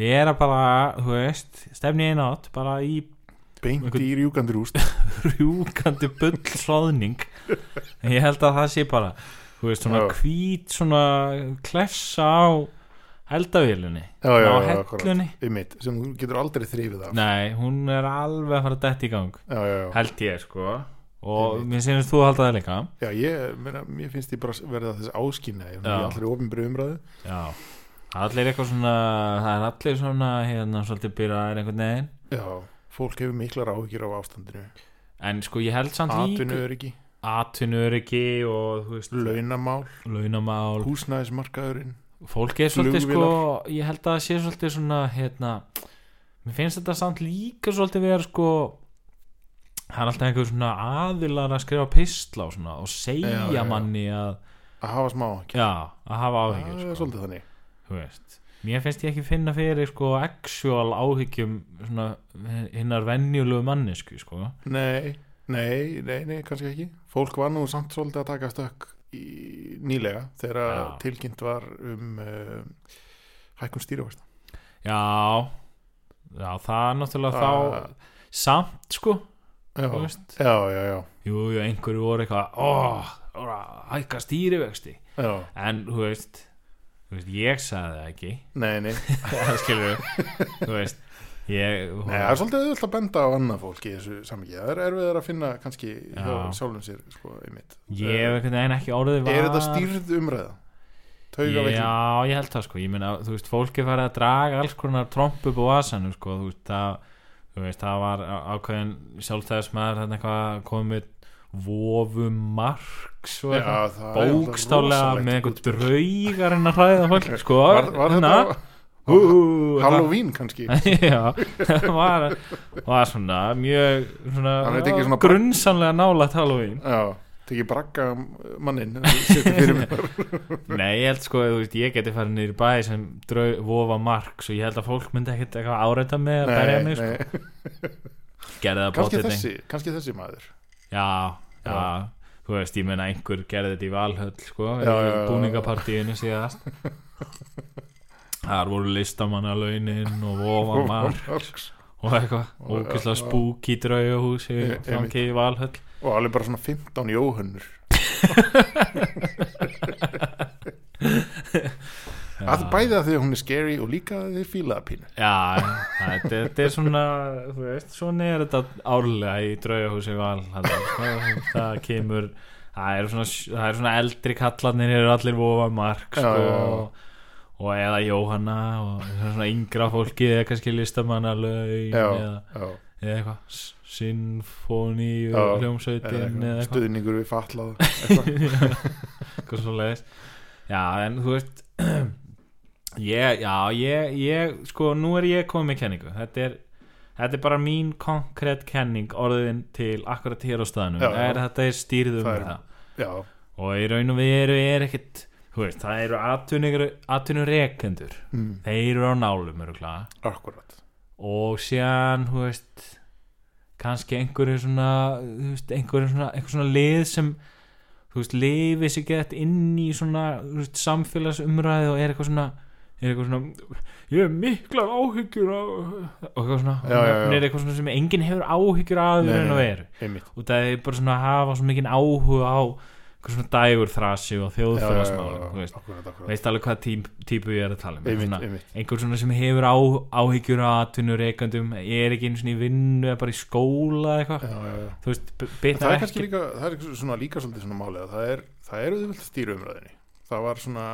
Við erum bara, þú veist Stefni einn átt, bara í beint Einhvern- í rjúkandi *laughs* rúst rjúkandi bullsróðning en ég held að það sé bara þú veist svona Já. hvít svona klessa á eldavílunni já, já, á já, hellunni einmitt, sem þú getur aldrei þrifið af nei, hún er alveg að fara að detta í gang já, já, já. held ég sko og mér sínast þú að halda það líka já ég, meina, mér finnst ég bara verða þess áskynna ég Já. er allri ofinbri umræðu já allir eitthvað svona það er allir svona hérna svolítið byrjaðir einhvern veginn já, fólk hefur miklar áhyggjur á ástandinu en sko ég held samt atvinnu líka öryggi, atvinnuriki og þú veist launamál launamál húsnæðismarkaðurinn fólk er svolítið sko Flugvélar. ég held að það sé svolítið svona hérna, mér finnst þetta samt líka svolítið vera sko það er alltaf einhver svona aðilar að skrifa pistla og svona og segja Já, já, já. manni að, að hafa smá áhyggjur já, að hafa það áhyggjur er sko, svolítið þannig þú veist mér finnst ég ekki finna fyrir sko actual áhyggjum svona hinnar venjulegu mannesku sko nei, nei, nei, nei, kannski ekki fólk var nú samt svolítið að taka stökk í, nýlega þegar Já. tilkynnt var um uh, hækkun stýrivast já, já það er náttúrulega Það- þá samt sko já, þú veist já, já, já, jú, jú, einhverju voru eitthvað óh, oh, hækka stýrivexti já. en, þú veist, þú veist ég sagði það ekki Nei, nei, nei, *laughs* það skilur þú veist *laughs* ég, það er svolítið auðvitað að benda á annað fólk í þessu samhengi, það er erfið að finna kannski hjá Já. sjálfum sér, sko, einmitt Eh, ég hef einhvern veginn ekki orðið var Er þetta stýrð umræða? Tauga veiklum Já, ég held það sko Ég meina, þú veist, fólk er farið að draga alls konar tromp upp á vasanum sko Þú veist, það, þú veist, það var á- ákveðin sjálfstæðismæður þarna eitthvað komið vofum marks og Já, eitthvað það er alltaf bókstálega rosalegt með einhver útspil. draugar en að hræða *laughs* fólk sko Var, var hérna, þetta hú, hú, Halloween kannski? það- *laughs* Já, það var, var svona mjög svona, Hann veit ekki svona- grunnsamlega nálægt Halloween Já, tekið bragga um mannin Settu *laughs* fyrir mér Nei, ég held sko, þú veist, ég geti farið niður í bæ sem drau, vofa mark svo ég held að fólk myndi ekkert eitthvað áreita mig að berja mig, sko, nei. gerði það Kannski pottet þessi, kannski þessi maður Já, já, Já. þú veist, ég menna einhver gerði þetta í Valhöll, sko, Já, já, já, já. búningapartíinu síðast Þar voru listamannalaunin og *laughs* vofa mark og eitthvað, Og- ókvæslega já, já. spúk í drauguhúsi Einmitt. fangi í Valhöll Og alveg bara svona 15 jóhunnur að Bæði að því að hún er scary og líka að þið fílaða pínu Já, þetta, þetta er svona þú veist, svona er þetta árlega í draugahúsi val það kemur það eru svona, það er svona eldri kallarnir eru allir vofa mark Já, sko, já, já. Og, og eða Jóhanna og svona yngra fólki eða kannski listamannalaun Já, eða, já, eða eitthvað s- sinfóní Já, og hljómsveitin eða eða eitthvað eitthvað Stuðningur við fallaða eitthvað. *laughs* eitthvað svo leiðis já en þú veist *clears throat* ég, já ég, ég sko nú er ég komið með kenningu þetta er, þetta er bara mín konkrétt kenning orðin til akkurat hér á staðnum Já, já. er þetta er stýrðum Það er- það Já, og í raun og við eru er ekkit þú veist það eru atvinnur rekendur mm, þeir eru á nálum eru klá akkurat og síðan þú veist kannski einhverju svona þú veist, einhverju svona, einhverju svona lið sem þú veist, lifið sér gett inn í svona þú veist, samfélagsumræði og er eitthvað svona er eitthvað svona, ég hef miklar áhyggjur af og eitthvað svona Já, já, já. hún er eitthvað svona sem enginn hefur áhyggjur af Nei, en nei, og nei. er Einmitt og það er bara svona að hafa svo mikinn áhuga á eitthvað svona dægur þrasi og Já, já, já, þjóðfélagsmál já, þú veist, Akkurat, akkurat veist alveg hvað tím, típu ég er að tala um Einmitt, Svona- einmitt einhver svona sem hefur á, áhyggjur að atvinnur reikandum, ég er ekki einu svona í vinnu eða bara í skóla eða eitthvað Já, já, já þú veist, En byrta það er kannski ekki líka, það er svona líka svolítið svona málið að það er, það er auðvitað stýru umræðinni það var svona,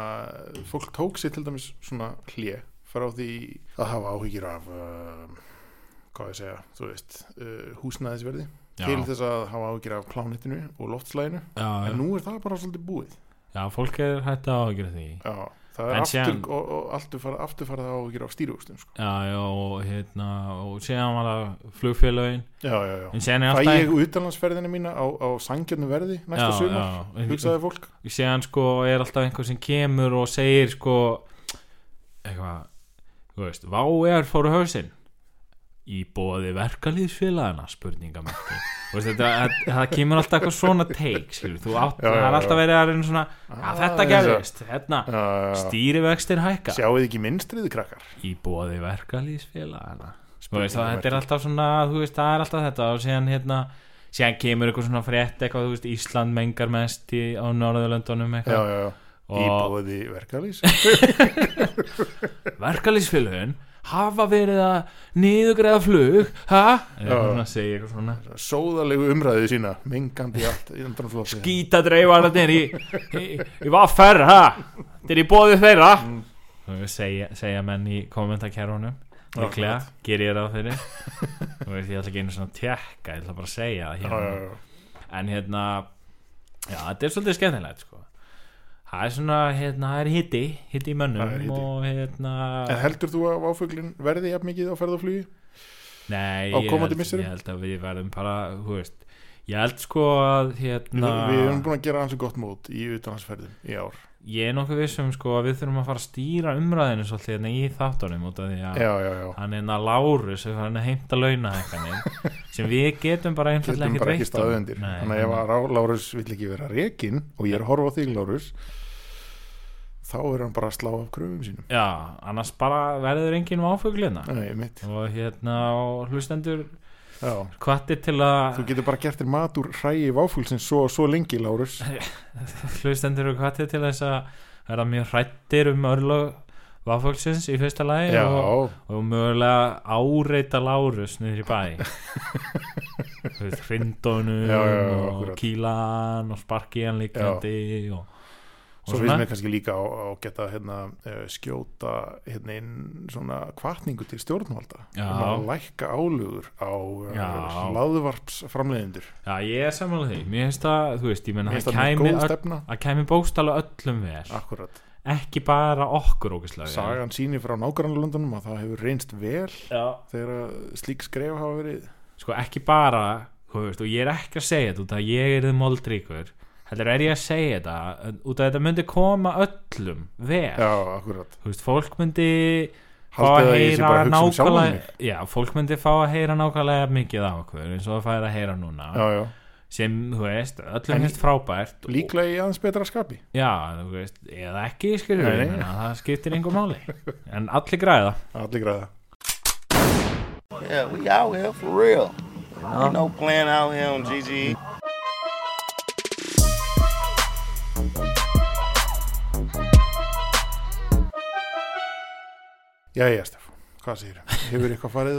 fólk tók sér til dæmis svona hlje frá því að hafa áhyggjur af uh, hvað ég segja, þú veist uh, húsnæðisverði, til já, þess að hafa áhyggjur af plánitinu og loftslæginu já, en nú er það bara svolítið búið já, fólk er hægt að áhyggjur af því já, Já, það er En aftur, síðan- og, og aftur farað aftur farað áhyggjur af stýruvöxtum sko. já, og hérna og séðan var það flugfélögin Já, já, já en séðan er Fæ alltaf ég utanlandsferðina mína á, á sangjarnu verði næsta Já, sumar, já, en- hugsaði fólk síðan sko er alltaf einhver sem kemur og segir sko eitthvað, þú veist Vá er fóru hausinn í bóði verkalýðsfélagana spurningamarki Þú veist, þetta, það, það kemur alltaf eitthvað svona teik skilur, þú átt, Já, já, það er alltaf já. verið að reyna svona já, þetta Aðeins að- gerðist, hérna Já, já, já. stýrivextir hækka Sjáuð ekki minnstriði krakkar í bóði verkalýðsfélagana þú veist, það, þetta er alltaf svona þú veist, það er alltaf þetta og síðan hérna síðan kemur eitthvað svona frétt eitthvað, þú veist, Ísland mengar mest í, á Norðurlöndunum já, eitthvað já, já. og- Í bóði verkalýs verkalýsfélögin hafa verið að niðugræða flug ha? Ég er svona að segja eitthvað svona Sóðalegu umræðu sína Mengandi í allt í andan flóti gítadreifarnir í, í, í vaffer ha? þetta er í bóði þeirra Mm. segja, segja menn í kommentarkerfunum líklega, ger ég það *laughs* fyrir Þú veist, ég ætla ekki einu svona að tjekka ég ætla bara að segja það Já, hérna. já, já. en hérna já, þetta er svolítið skemmtilegt sko. það er svona, hérna, það er hitti hitti í mönnum Það er hiti. og hérna En heldur þú að áfuglin verði jafn mikið á ferð og flugi? Nei, á ég komandi held, misserum? ég held að við verðum bara, þú veist ég held sko að hérna, Við, við erum búin að gera hans gott mót í utanhansferðum í ár ég er nokkuð vissum sko að við þurfum að fara að stýra umræðinu svolítið hérna í þáttunum út af því að Já, já, já hann er hérna Lárus sem hann er heimt að launa *laughs* sem við getum bara einfallega Getum bara ekki ekkert veitt honum. staðundir um. Nei, Þannig að ef að Rá- Lárus vill ekki vera rekin og ég er að horfa á þig Lárus þá er hann bara að slá af kröfum sínum já, annars bara verður enginn áfuglina Nei, mitt og hérna og hlustendur já. Hvattir til Þú að getur bara gert þér mat úr hræi váfúlsins svo, svo lengi, Lárus hlustendur og hvattir til þess að vera mjög hrættir um örlög Vafólksins í fyrsta lagi Já, og, og mögulega áreita Lárus niður í *laughs* bæ hrindónum Já, já, já, og akkurat. kýlan og sparkiðan líkjandi og, og svo finnst mér kannski líka á, á geta hérna, eh, skjóta hérna inn svona kvartningu til stjórnvalda Já. um að lækka álugur á eh, Já. laðvarpsframleiðindur Já, ég er samanlega því, mér finnst það, þú veist, ég menna Mér finnst það það mjög kæmi, góð öll, stefna það kæmi bókstala öllum vel, Akkurat, ekki bara okkur ógislega sagan sýnir frá nágrannlöndunum að það hefur reynst vel Já. þegar að slík skref hafa verið Sko, ekki bara, þú veist, og ég er ekki að segja þetta út af að ég er þið moldríkur, heldur er ég að segja þetta en út af að þetta myndi koma öllum vel, Já, akkurat þú veist, fólk myndi fá Haldið að að ég sé heyra bara að hugsa um sjálfan mig nákvæmlega, já, fólk myndi fá að heyra nákvæmlega mikið af okkur eins og það fær að heyra núna, Já, já, sem, þú veist, En öllum finnst frábært og- líklega í aðeins betra skapi Já, þú veist, eða ekki skilur Nei, við, nei. menna, það skiptir einhver máli En allir græða Allir græða Yeah, we out here for real. Ain't no playing out here on E. GG. Jæja, Stef, hvað segir? Hefur eitthvað farið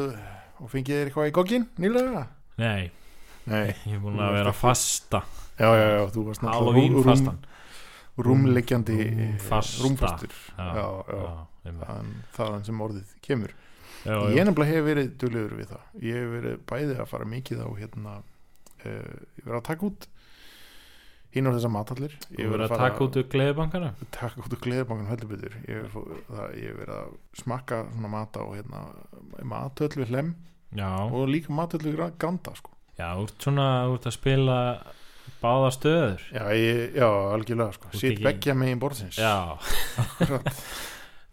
og fengið þér eitthvað í gogginn nýlega? Nei, Nei, ég er búin að vera að fasta já, já, já, þú varst Halloween fastan rúm, rúmleggjandi eh, Rúmfasta. rúmfastur. Já, Já, já, já, einmitt. þaðan, þaðan sem orðið kemur. já, Ég já. nefnilega hef verið duðlegur við það. Ég hef verið bæði að fara mikið á hérna, uh, ég verið að taka út hinn á þessa matallir. Ég Ég hef verið að fara- taka út úr gleðibankana taka út úr gleðibankan höllubutur ég hef fó- það- ég hef verið að smakka svona mata og hérna matöll við hlem Já, og líka matöll við gra- granda sko já, úr svona, úr að spila báða stöður Já, ég, já algjörlega sko. Þú Sitt tekið- beggja megin borðsins Já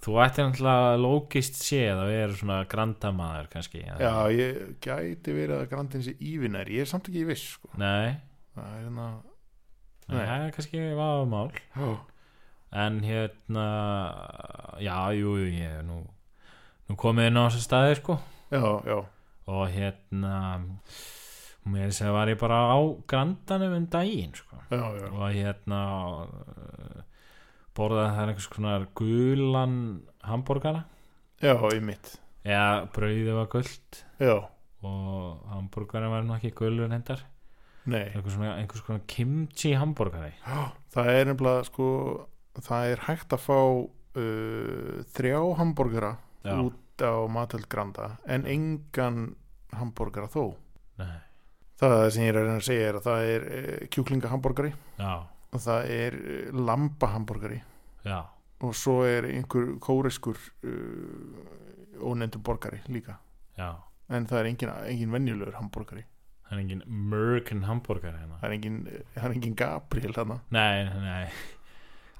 Þú ættir náttúrulega lókist séð að vera svona grandamaður kannski já, ég gæti verið að grandin sé ívinnar Ég er samt ekki í viss sko. Nei, Það er hérna nei, Nei. það er kannski vafamál Já, En hérna Já, jú, jú, ég er nú Nú komið inn á þessa staði, sko já, já, Og hérna Mér sem var ég bara á grandanum um daginn, sko já, já. Og hérna eh, Borðaði það einhvers konar gulan hambúrgara já í mitt Eða brauðið var gult Já, Og hambúrgara var nú ekki gulur hendar nei einhvers, svona, einhvers konar kimchi hambúrgari Það er nefnilega sko Það er hægt að fá uh, þrjá hambúrgara Já, út á matöld granda en engan hambúrgara þó nei, Það er það sem ég er að reyna að segja er að það er uh, kjúklinga hambúrgari já, og það er uh, lamba hambúrgari já og svo er einhver kóreskur uh, ónefndur borgari líka Já, en það er engin, engin venjulegur hambúrgari það er engin American hambúrgari hérna það er engin, það er engin Gabriel þarna Nei, nei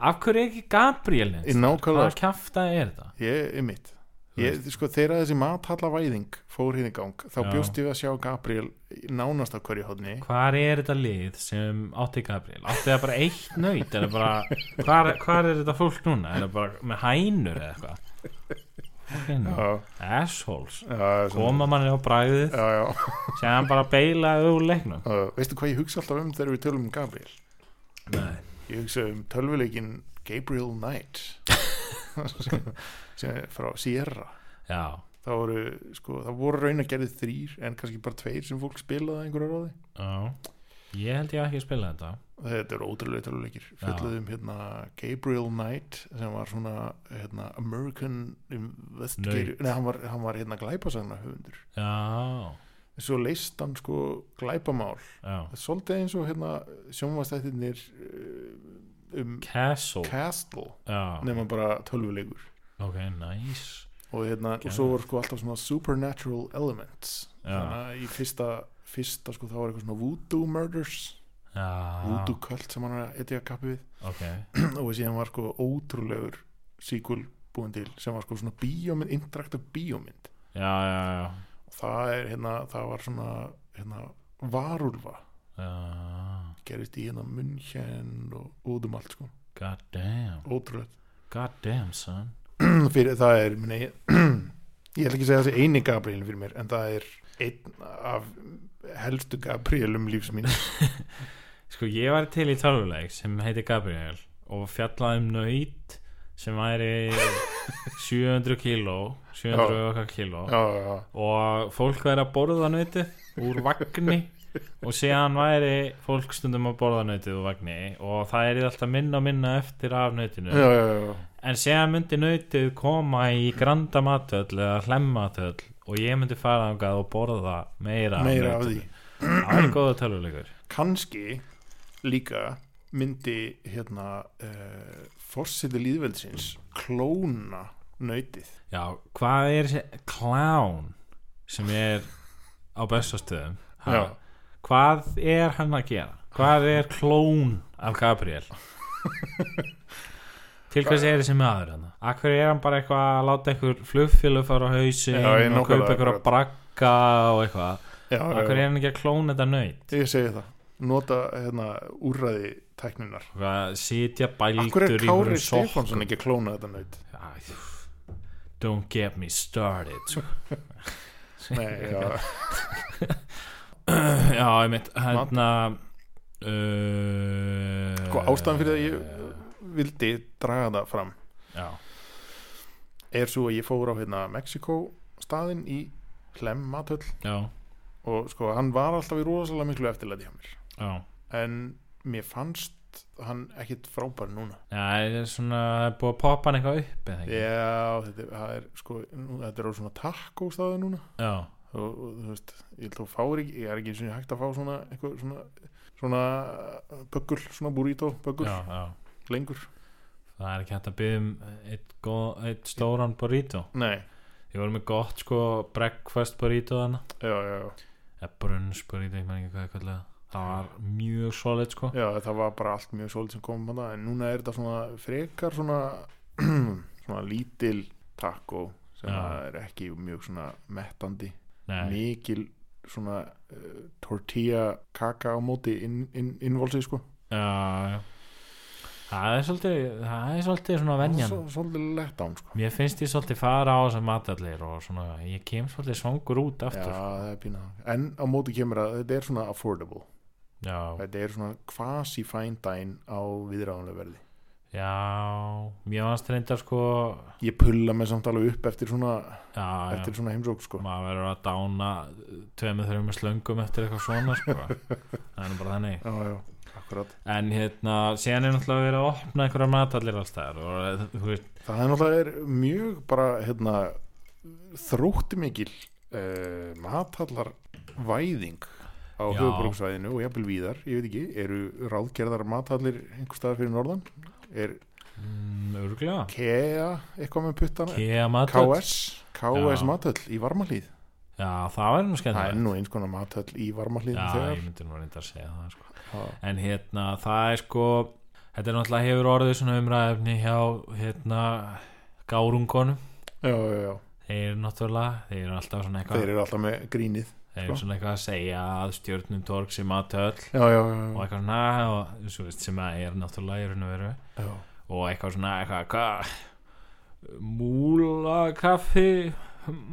Af hverju er ekki Gabriel neins? Í nákvæmlega, sko, Hvað kjafta er þetta? ég er mitt Þú ég, sko, þegar þessi mathallavæðing fór hérna í gang þá Já. bjóst ég við að sjá Gabriel nánast á hverju hodni Hvar er þetta lið sem átti Gabriel? Átti það bara eitt nöyt? Er það bara, hvar, hvar er þetta fólk núna? Er það bara með hænur eða eitthvað? Fucking já, Assholes já, svona- Koma manni á bræðið já, já sem hann bara beilaði úr leiknum Uh, veistu hvað ég hugsa alltaf um þegar við tölum um Gabriel? Nei Ég hugsa um tölvuleikin Gabriel *laughs* Knight sem er frá Sierra Já, það voru, sko, það voru raun að gerði þrýr en kannski bara tveir sem fólk spilaði að einhverju ráði já Ég held ég ekki að spila þetta þetta eru ótrúlega tölvuleikir fjöldið um hérna Gabriel Knight sem var svona hérna, American investigator nei, hann var, hann var hérna glæpasagna höfundur Já, svo leist hann sko glæpamál já það er svolítið eins og hérna sjónvastættirnir uh, um Castle Castle Já, nema bara tölvuleikur ok, nice og, hérna, og Geðveikt. svo voru sko alltaf svona supernatural elements Já. þannig að í fyrsta, fyrsta sko þá var eitthvað svona voodoo murders Já, voodoo cult sem hann er að etja kappi við ok *clears throat* og síðan var sko ótrúlegur sequel búin til sem var sko svona bíómynd, interaktiv bíómynd Já, já, já og það er hérna, það var svona hérna varulva Já, gerist í hérna munnkjenn og út um allt sko, god damn ótrúlega *clears throat* God damn son fyrir það er minni, ég ætla ekki að segja þessi eini Gabrielin fyrir mér en það er einn af helstu Gabrielum lífs mín Sko ég var til í tölvuleik sem heiti Gabriel og fjallaði um nöyt sem *laughs* væri 700 kíló 700 Já. og okkar kíló já, já, og fólk væri að borða nöytið úr vagni og síðan væri fólk stundum að borða nöytið úr vagni og það er alltaf minna og minna eftir af nöytinu já, já, já. en síðan myndi nöytið koma í granda matöll eða hlemmatöll og ég myndi fara þangað og borða meira, meira af nautinu. því Það er góða tölvuleikur kannski líka myndi hérna uh, forseti líðveldsins klóna nöytið Já, hvað er þessi klán sem er á bestastöðum ha? Já. hvað er hann að gera hvað er klón af Gabriel til hvers er þessi maður hann akkur er hann bara eitthvað að láta einhver flugfélu fara á hausin Já, ég og nákvæmlega, kaupa einhver að akkurat. brakka og eitthvað já, akkur er hann ekki að klóna þetta nöyt ég segi það nota hérna úrræði tæknunar Hvað, sitja bældur Akkur er í sko. Kári einhverjum sokkum. Stefánsson ekki að klóna þetta *laughs* nöyt Æ, don't get me started sko. Nei, já, *clears throat* Já, ég mitt hérna uh, sko ástæðan fyrir að ég vildi draga það fram Já, er svo að ég fór á hérna Mexiko staðinn í Hlemmatöll já, og sko hann var alltaf í rosalega miklu eftirlæti hjá mér já en mér fannst hann ekkit frábær núna Já, það er svona það er búið að poppa hann eitthvað upp eða ekki Já, þetta er, það er sko nú- þetta er á svona takko staðu núna Já, og, og þú veist, ég held þú fáir ekki ég er ekki eins og hægt að fá svona eitthvað svona, svona böggul, svona burrito böggul, já, já lengur Það er ekki hægt að byggja um eitt, góð- eitt stóran burrito Nei, Ég voru með gott sko breakfast burrito þannig já, já, já, eða brunns burrito, ég maður ekki hvað ég kallega Það var mjög solid sko já það var bara allt mjög svolít sem kom hana, en núna er þetta svona frekar svona *clears throat* svona lítil takko sem Já. er ekki mjög svona mettandi, Nei, mikil svona uh, tortilla kaka á móti inn, inn, innvolsið sko já, já Það er svolítið, það er svolítið svona venjan Svo- svolítið lett án sko Mér finnst ég svolítið fara á þessar matallir og svona, ég kem svolítið svangur út Já, aftur. það er pína En á móti kemur að þetta er svona affordable Já, já, Þetta er svona quasi fine dine á viðráðanlega verði mér fannst reyndar sko, Ég pulla mig samt alveg upp eftir svona, já, já, eftir svona heimsók sko maður verður að dána tveimur þreimur slöngum eftir eitthvað svona, *laughs* sko. það er nú bara þannig. Já, já, akkurat En hérna, síðan er náttúrulega verið að opna einhverja matallir alls þar og eh, þú veist, Það er náttúrulega er mjög bara hérna, þrótti mikil uh, matallar væðing á Já. höfubróksvæðinu og jafnvel víðar, ég veit ekki, eru ráðgerðar matallir einhver staðar fyrir norðan er mm, örglega, KEA eitthvað með puttana kea matall. KS, KS Já. matöll í varmahlíð Já, það verður nú það er skemmt. nú eins konar matöll í varmahlíð Já, þegar ég myndi nú reyndar að segja það, sko. Já. en hérna það er sko þetta er náttúrulega hefur orðið svona umræðefni hjá hérna gárungunum já, já, já, þeir eru náttúrulega, þeir eru alltaf svona eitthvað þeir þeir, eru alltaf með grínið eru sko. svona eitthvað að segja að stjórnum torg sem að töll já, já, og já, eitthvað svona og, svo veist, sem að er náttúrulega í raun og veru já, og eitthvað svona eitthvað hvað múlakaffi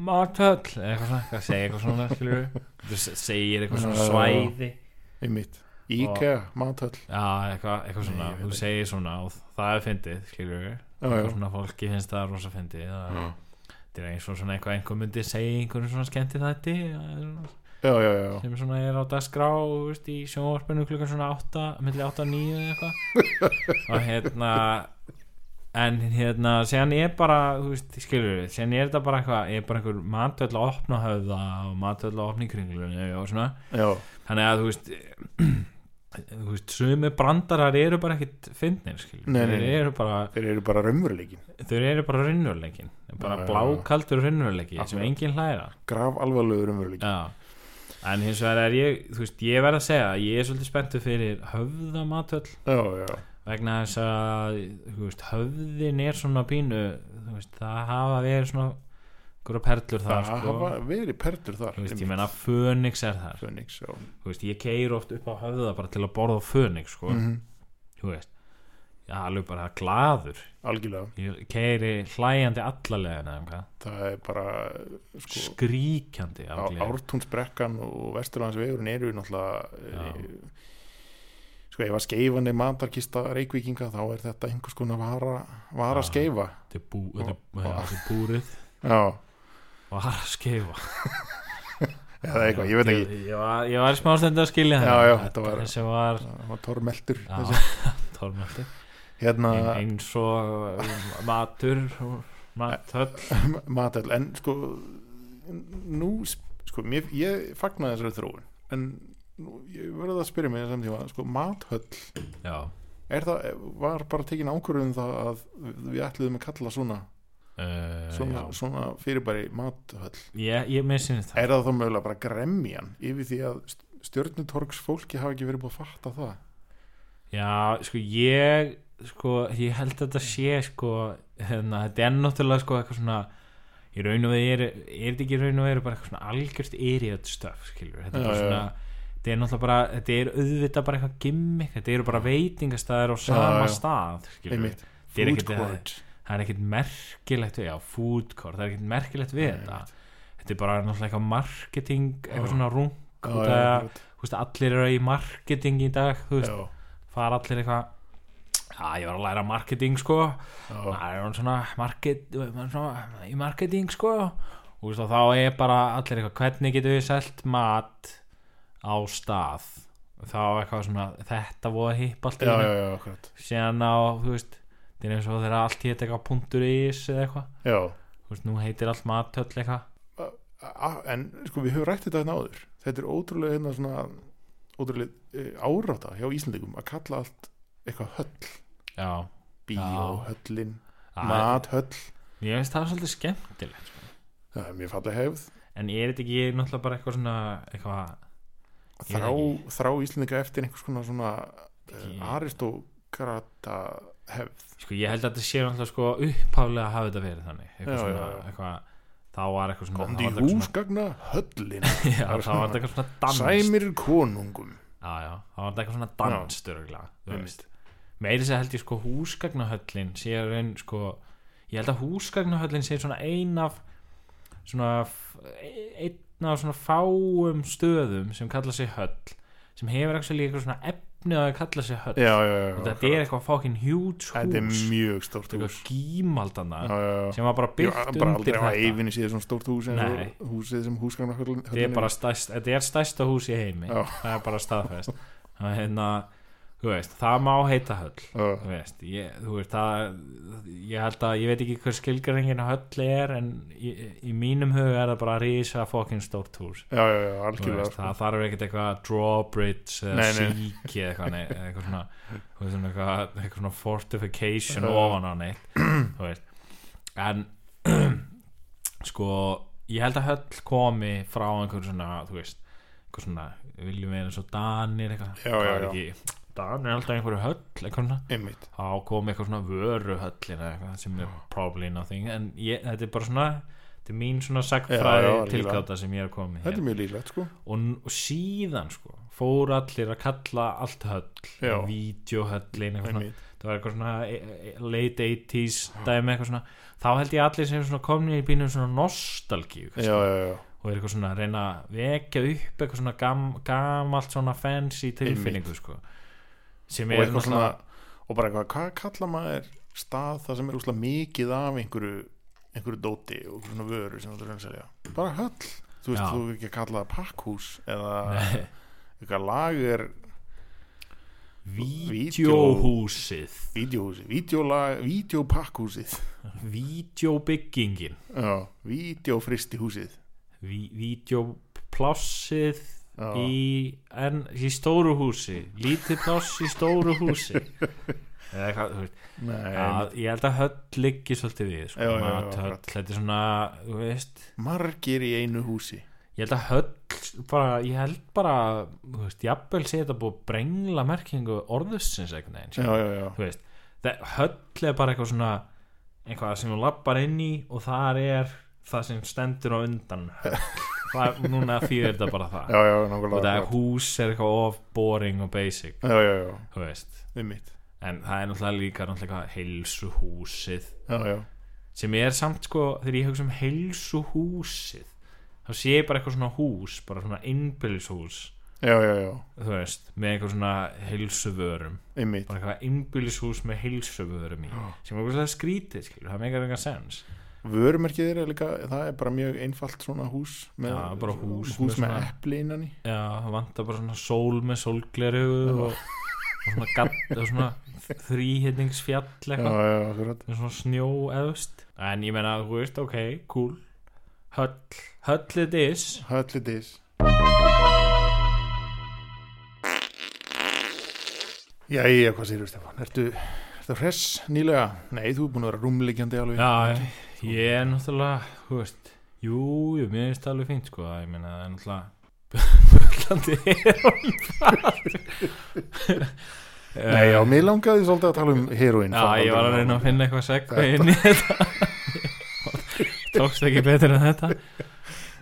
matöll eitthvað svona, eitthvað segja eitthvað svona skilur segir eitthvað svona Já. svæði einmitt IKEA matöll Já, eitthvað, eitthvað svona, Nei, ég veit þú ekki. segir svona og það er fyndið, skilur við Já, eitthvað já. svona fólki finnst það rosa fyndið það er- þetta er eins og svona eitthvað einhver myndi segja í einhverjum svona skemmti þætti já, já, já, já. sem svona er á dagskrá þú veist, í sjónvarpinu klukkan svona 8 milli 8 og 9 eða eitthvað *laughs* og hérna en hérna, séðan er bara þú veist, skilur við, séðan er þetta bara eitthvað er bara einhver matöll að opna höfða og matöll að opna í kringlunni og svona já, þannig að þú veist *clears throat* þú veist, sömu brandarar eru bara ekkit fyndnir, skilur Nei, nei, þeir nei. eru bara, þeir eru bara raunveruleikin þau eru bara raunveruleikin bara Já, já, já. blákaldur raunveruleiki sem Akkurat. enginn hlæra graf alvarlegu raunveruleikin já. en hins vegar er ég þú veist, ég verð að segja, að ég er svolítið spenntu fyrir höfðamatöll já, já, vegna þess að þú veist, höfðin er svona pínu þú veist, það hafa verið svona einhverja perlur það þar sko. hafa verið perlur þar þú veist, ég menna Fönix er þar Fönix, já, þú veist, ég keir oft upp á höfða bara til að borða Fönix sko. Mhm. þú veist já, alveg bara glaður algjörlega ég keiri hlæjandi allalegina um hvað það er bara sko, skríkjandi af á- gleði. ártúnsbrekkan og vesturlandsvegurinn eru náttúrulega Já. eh, sko ef að skeifan er matarkista reykvíkinga þá er þetta einhvers konar vara, vara Já. skeifa þetta er bú- þetta er- Ó, ó. þetta er búrið já, og har að *laughs* skeifa eða eitthvað, ég veit ekki ég, var, ég var í smá stund að skilja Já, þetta. já, þetta var- þessi var það var tormeltur Já. *laughs* þessi. tormöldi hérna eins og um, matur og mathöll *laughs* matel, en sko nú, sko mér, ég fagnaði þessari þróun en nú, ég verði að spyrja mig samt tíma, sko mathöll já, er það, var bara tekin ákvörðun um það að við ætluðum að kalla svona uh, svona, já. svona fyrirbæri mathöll ég, ég missin þetta Er það þá mögulega bara gremjan yfir því að stjörnutorgs fólki hafa ekki verið búið að fatta það? Já, sko ég sko, ég held að þetta sé sko, hérna, þetta er náttúrulega sko eitthvað svona í raun og veru er, er þetta ekki í raun og veru bara eitthvað svona algjörst erið stöf, skilur þetta er Já, bara já, svona þetta er náttúrulega bara, þetta er auðvitað bara eitthvað gimmick, þetta eru bara veitingastæðar á sama já. stað, skilur Einmitt. Þetta er Food ekkert- court. það er ekkert merkilegt við, já, food court, það er ekkert merkilegt við Nei, þetta þetta er bara náttúrulega eitthvað marketing eitthvað Já. svona rung, Já, út já, að- akkurat. þú veist, allir eru í marketing í dag, þú veist Já, fara allir eitthvað Já, ég var að læra marketing sko já, Það er hann svona, market, maður er svona í marketing sko og veist, þá er bara allir eitthvað hvernig getum við selt mat á stað og þá er eitthvað svona þetta voða hipp allt í já, já, einu. já, akkurat. síðan á, þú veist það er eins og þegar allt hétt eitthvað punktur ís eða eitthvað, Já, þú veist, nú heitir allt matöll eitthvað A- en sko við höfum rætt þetta hérna áður. Þetta er ótrúlega hérna svona, ótrúlega e, áráta hjá Íslandingum að kalla allt eitthvað höll. Já, Bíóhöllin, það er- mathöll. ég veist það er svolítið skemmtilegt sko. Það er mjög fallið hefð. en er þetta ekki náttúrulega bara eitthvað svona eitthvað Ég Þrá, veit þrá Íslandinga eftir einhvers konar svona e, Ég- aristokrata hefð. Sko ég held að þetta sé náttúrulega sko upphaflega að hafa þetta verið þannig eitthvað Já, svona, já, já. eitthvað þá var eitthvað svona þá Komdu í var þetta eitthvað húsgagna höllin. svona- *laughs* Já, þá var þetta eitthvað svona dans Sæmir konungum Já, já, þá var þetta eitthvað svona dans Einmitt. störuglega Meiri sér held ég sko húsgagnahöllin sé raun sko ég held að húsgagnahöllin sé svona ein af svona f- e- einn af svona fáum stöðum sem kalla sig höll sem hefur ekki eitthvað svona efni á að kalla sig höll já, já, já, og þetta er eitthvað fucking huge hús Þetta er mjög stórt eitthvað hús gímaldana Já, já, já. sem var bara Ég byggt var bara undir aldrei á þetta æfinni síðan svona stórt hús eins Nei. og húsið sem húsgagna höllin þetta er bara stærst, þetta er stærsta hús í heimi Já. það er bara staðfest það, er hérna, þú veist, það má heita höll Já. þú veist, ég, þú veist það, ég held að, ég veit ekki hver skilgaringin höll er en í, í mínum huga er það bara rísa fokkin stórt hús Já, já, já, Þú veist, algjörlega sko. það þarf ekkert eitthvað drawbridge eða Nei, nei. síki eða eitthvað, nei, eða eitthvað svona, þú veist, svona eitthvað, eitthvað svona fortification Já. ofan á neitt þú veist en *clears throat* sko ég held að höll komi frá einhver svona þú veist einhver svona viljum við eins og danir eitthvað Já, Það já, er já. ekki, danir er alltaf einhverju höll eitthvað svona Einmitt þá kom eitthvað svona vöru höllina eitthvað sem er probably nothing en ég, þetta er bara svona þetta er mín svona sagfræði algjörlega. tilgáta sem ég er komið Þetta er mjög líklegt sko og, og síðan sko fóru allir að kalla allt höll Já. videohöllin eitthvað svona, Einmitt. það var eitthvað svona e- e- late 80s dæmi eitthvað svona þá held ég allir sem svona komni í bínum svona nostalgíu Já, já, já, og er eitthvað svona að reyna að vekja upp eitthvað svona gam, gamalt svona fancy tilfinningu sko sem og er eitthvað svona Og bara eitthvað, hvað kalla maður stað það sem er úslega mikið af einhverju einhverju dóti og einhverju svona vöru sem þú er að selja Bara höll Þú veist, Já. þú er ekki að kalla það pakkhús eða eitthvað lager videohúsið Vídeóhúsið, vídeólag, vídeópakkhúsið videobyggingin Já, vídeófristi húsið videoplássið Já. í, en, í stóru húsi lítið pláss í stóru *laughs* húsi eða eitthvað þú veist. Nei, að, ég held að höll liggi svolítið við sko, Já, já, já, mat, höll, akkurat. þetta er svona þú veist, margir í einu húsi ég held að höll bara, ég held bara þú veist, jafnvel sé þetta búið að brengla merkingu orðusins einhvern veginn Já, skilur. já, já, þú veist, það, höll er bara eitthvað svona eitthvað sem hún lappar inn í og þar er það sem stendur á undan *laughs* höll það, núna þýðir þetta bara það já, já, og nákvæmlega það er akkurat. hús er eitthvað of boring og basic Já, já, já, þú veist við mitt en það er náttúrulega líka náttúrulega heilsuhúsið já, já, sem er samt sko þegar ég hugsa um heilsuhúsið þá sé ég bara eitthvað svona hús bara svona innbyrðishús já, já, já, þú veist, með eitthvað svona heilsuvörum, einmitt bara eitthvað innbyrðishús með heilsuvörum í, sem er eitthvað skrítið skilur, það meikar eitthvað sens vörumerkið er líka, það er bara mjög einfalt svona hús með, Já, bara hús með með, svona- epli innan í já, það vantar bara svona sól með sólgleru og, og svona, gatt- og *laughs* svona þrýhittingsfjall já, eitthvað já, akkurat með svona snjó eðust en ég meina, þú veist, ok, cool höll, höll it is Höllu dis Já, ég, hvað sér, Stefán? Ertu, ertu hress nýlega? Nei, þú er búin að vera rúmliggjandi alveg já, ég er náttúrulega þú veist, jú, jú, mér finnst það alveg fínt sko, ég meina, það er náttúrulega *laughs* bullandi heroín Nei, já, mér langaði svolítið að tala um *laughs* heroin Já, ég var að reyna að finna eitthvað segva inn í þetta *laughs* Tókst ekki betur en þetta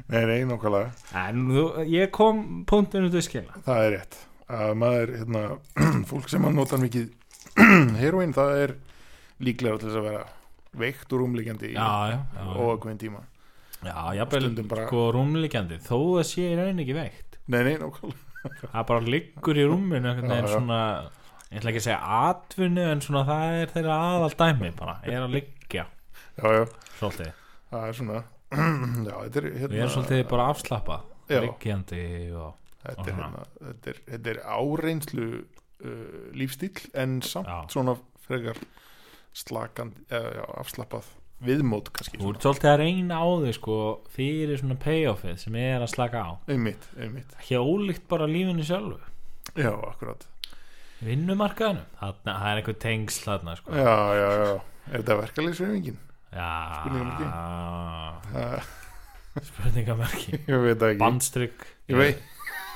Nei, nei, nákvæmlega, En þú, ég kom punktinu til skila það er rétt að maður, hérna, *clears throat* fólk sem að nota mikið *clears throat* heroin, það er líklega til þess að vera veikt og rúmliggjandi í Já, já, já óakveðin tíma Já, jafnvel, Stundum bara- sko, rúmliggjandi Þó það sé í raun ekki veikt Nei, nei, nákvæmlega Það bara liggur í rúminu einhvern Já, veginn já. svona Ég ætla ekki að segja atvinnu En svona það er þeirra aðal dæmi bara Er að liggja, Já, já, svolítið það er svona *clears throat* Já, þetta er, Við hérna erum svolítið bara afslappa Já. Liggjandi og þetta Aha. er, hérna, þetta er, þetta er áreinslu uh, lífstíl en samt Já. svona frekar slakand, eða, já, afslappað viðmót kannski Þú svona. ert svolítið að reyna á þig sko Fyrir svona payoffið sem er að slaka á einmitt, einmitt, ekki ólíkt bara lífinu sjálfu já, akkurat vinnumarkaðinu, þarna, það er einhver tengsl þarna sko já, já, já, er þetta verkalýsreifingin? Spurningamerki. já Uh, spurningamarki ég veit það ekki bandstrygg ég veit,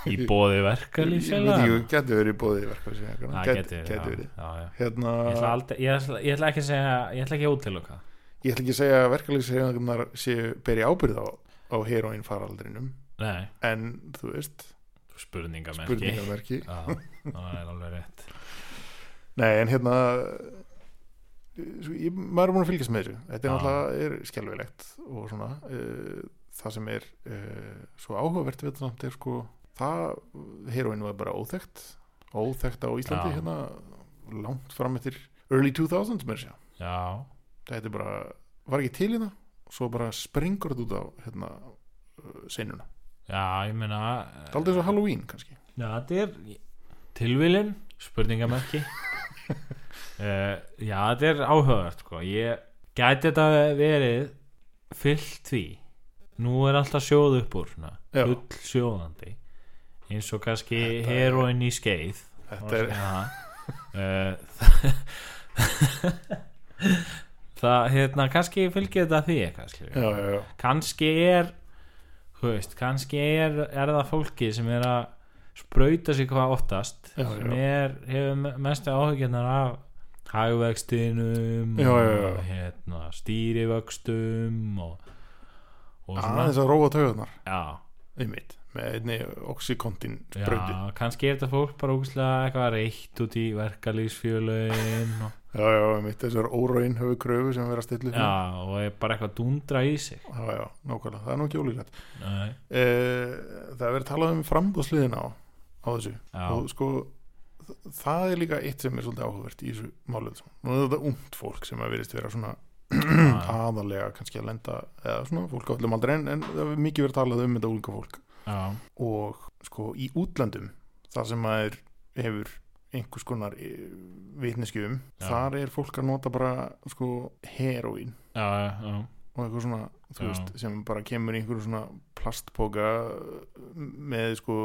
í bóði ég verkalýs veit ekki, getur verið bóðið verkalýsreifingina, það getur getur já, verið já, já. hérna, Ég, ætla aldrei, ég, ætla, ég ætla ekki að segja ég ætla ekki að útiloka það. ég ætla ekki að segja að verkalýsreifingarnar séu beri ábyrð á, á heroin faraldrinum nei, en, þú veist, spurningamerki spurningamerki já, það er alveg rétt Nei, en hérna eh, svo ég, maður er búin að fylgjast með þessu þetta er Já. náttúrulega er skelfilegt og svona uh, það sem er uh, svo áhugavert við þetta samt er sko það heroin var bara óþekkt óþekkt á Íslandi Já. hérna langt fram eftir early 2000s mér sé já, þetta er bara, var ekki til hérna svo bara springur þetta út á hérna uh, senuna, já, ég meina eh, það er aldrei svo Halloween kannski Já, þetta er tilvilin spurningamerki *laughs* uh, Já, þetta er áhugavert sko. ég gæti þetta verið fyllt því nú er alltaf sjóð upp úr svona, Já. full sjóðandi eins og kannski Þetta er- heroin í skeið þetta er, *laughs* uh, eh, *laughs* það hérna kannski fylgir þetta því kannski, já, já, já, kannski er þú veist, kannski er, er það fólkið sem er að sprauta sig hvað oftast Já, sem já. er, hefur me- mestu áhugjörnar af hægvextinum Já, já, já. og hérna, stýrivöxtum og, og svona aðeins að róa taugarnar já, einmitt, með einni oxykontin já, sprauti kannski er þetta fólk bara úkslega eitthvað reitt út í verkalýsfjölögin og, Já, já, einmitt þessar óraun höfu kröfu sem vera að stilla upp með. já, og er bara eitthvað að dúndra í sig já, já, nákvæmlega, það er nú ekki ólíklegt Nei, uh, Það er verið talað um frambúðsliðina á, á þessu já, og sko, þ- það er líka eitt sem er svolítið áhugavert í þessu málið sko. Nú er þetta ungt fólk sem að verist vera svona já, aðalega kannski að lenda eða svona fólk á öllum aldrei en, en það er mikið verið talað um þetta unga fólk já, og sko í útlöndum þar sem maður hefur einhvers konar vitneskjum Já. þar er fólk að nota bara sko heroín já, já, og eitthvað svona, þú Já. veist, sem bara kemur í einhverju svona plastpoka uh, með sko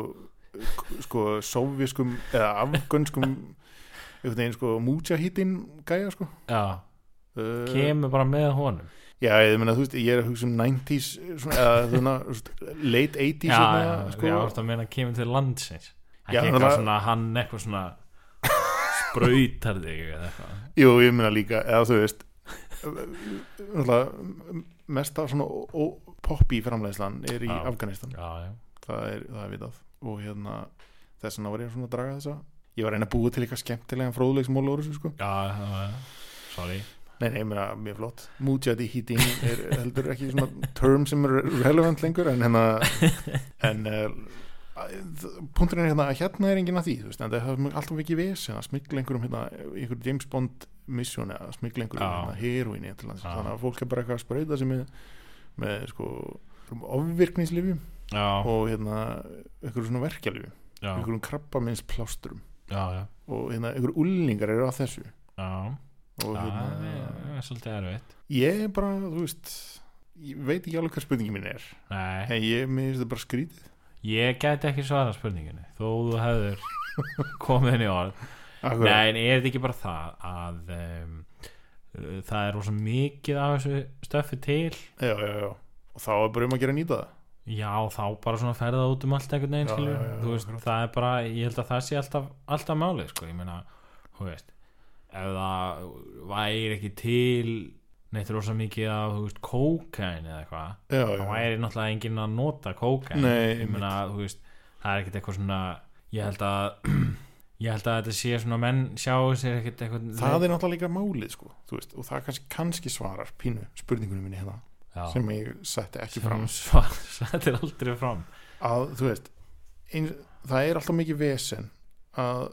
k- sko sovjaskum eða afgönskum einhvern veginn sko mútsjahítin gæja sko já Uh, kemur bara með honum já, ég meina, þú veist, ég er að hugsa um 90s svona, eða svona, þú veist, late 80s já, hérna, já, sko, já, orðið að meina að kemur til landsins ekki Já, eitthvað náttúrulega- svona, hann eitthvað svona sprautar þig eða eitthvað jú, ég meina líka eða þú veist náttúrulega, mesta svona ó- ó- poppy framleiðslan er í Já. Afganistan já, já, það er, það er vitað og hérna þess vegna var ég svona að draga þessa ég var að reyna að búa til eitthvað skemmtilegan fróðleiksmóla úr þessu sko Já, það var Sorry Nei, nei, mér er mjög flott Mujahdi heating er heldur ekki svona term sem er relevant lengur en *laughs* hérna en uh, punkturinn er hérna að hérna er enginn að því þú veist, en það er alltaf ekki vesina smikla einhverjum hérna, einhverjum James Bond misjóni að smikla einhverjum Já. hérna, heroinni til hans, Já. þannig að fólk er bara eitthvað að sprauta sem er með sko ofvirkningslifjum Já, og hérna einhverjum svona verkjalifjum, já, einhverjum krabbamins plásturum já, já og hérna einhverjum ullingar eru að þessu Já, og það hérna er- það er svolítið erfitt Ég er bara, þú veist Ég veit ekki alveg hvað spurningin mín er Nei, En ég minnst það bara skrítið ég gæti ekki svara spurningunni þó þú *laughs* hefur komið henni í orð Akkur, Nei, en er þetta ekki bara það að um, það er rosa mikið af þessu stöffi til já, já, já. Og þá er bara um að gera að nýta það Já, þá bara svona ferða út um allt einhvern veginn, Já, skilur já, já, Þú veist, akkurat. það er bara, ég held að það sé alltaf, alltaf máli, sko, ég meina þú veist, ef það væri ekki til neitt rosa mikið af, þú veist, kókain eða eitthvað, Já, þá já, væri náttúrulega enginn að nota kókain Nei, ég meina, þú veist, það er ekkert eitthvað svona ég held að *clears throat* ég held að þetta sé svona menn sjá sér ekkert eitthvað Það er náttúrulega líka málið sko, þú veist, Og það kannski, kannski svarar pínu spurningunum minni hérna Já. Sem ég setti ekki fram *laughs* svar, þetta er aldrei fram Að, þú veist ein, Það er alltaf mikið vesen Að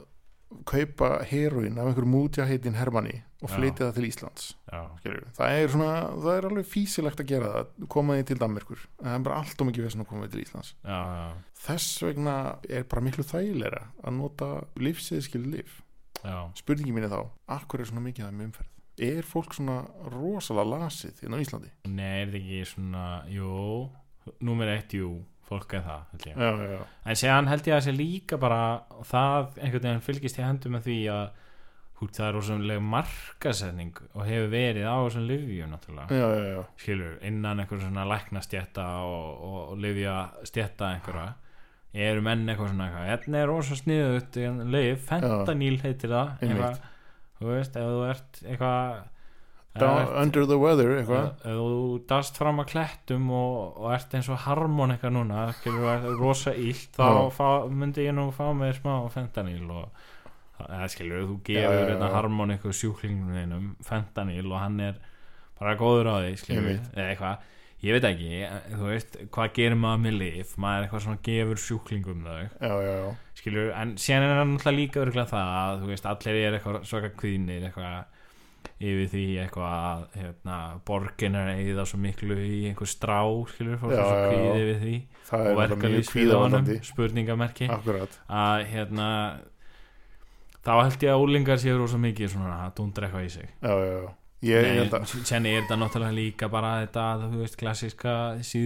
kaupa heroin af einhverjum mútjaheitin Hermanni Og Já. flytja það til Íslands já, skilur. það er svona, það er alveg físilegt að gera það koma því til Danmerkur en það er bara allt og mikið vesen að koma því til Íslands já, já, þess vegna er bara miklu þægilegra að nota lífsiðskil líf já. spurningi mín er þá, akkur er svona mikið það með umferð er fólk svona rosalega lasið inn á Íslandi? nei, er þetta ekki svona jú, númer eitt, jú fólk er það, held ég Já, já, já, en séðan held ég að sé líka bara það einhvern veginn fylgist í hendum með því að hú, það er rosalega markasetning og hefur verið á þessum lyfjum náttúrulega já, já, já. skilur, innan einhver svona læknastjætta og, og, og lifja stjætta einhverja eru menn eitthvað svona eitthvað, hérna er rosa sniðut leif, fentaníl heitir það Einmitt. eitthvað, þú veist, ef þú ert eitthvað Down, ef, under the weather, þú eitthvað ert- ef þú dast fram að klettum og, og ert eins og harmon eitthvað núna skilur, og ert rosa illt þá Já. fá, myndi ég nú fá mér smá fentaníl og eða skilur, þú Já, já, já, gefur hérna já. harmon eitthvað sjúklingunum þínum fentaníl og hann er bara góður á því skilur, Einmitt. eða eitthvað ég veit ekki, en þú veist, hvað gerir maður með lif maður er eitthvað svona gefur sjúklingum þau, já, já, já, skilur, en síðan er hann náttúrulega líka örgulega það að, þú veist, allir er eitthvað svaka kvíðnir, eitthvað yfir því eitthvað að hérna, borgin er eða svo miklu í einhver strá, skilur, fólk Já, er svo já, já. kvíð yfir því það og er bara mjög verkalýskvíða honum, kvíðavaldandi spurningamerki akkurat, að hérna þá held ég að úlingar séu rosa mikið svona að dundra eitthvað í sig já, já, já ég, ég held að, Senni er þetta náttúrulega líka bara þetta, þú veist, klassiska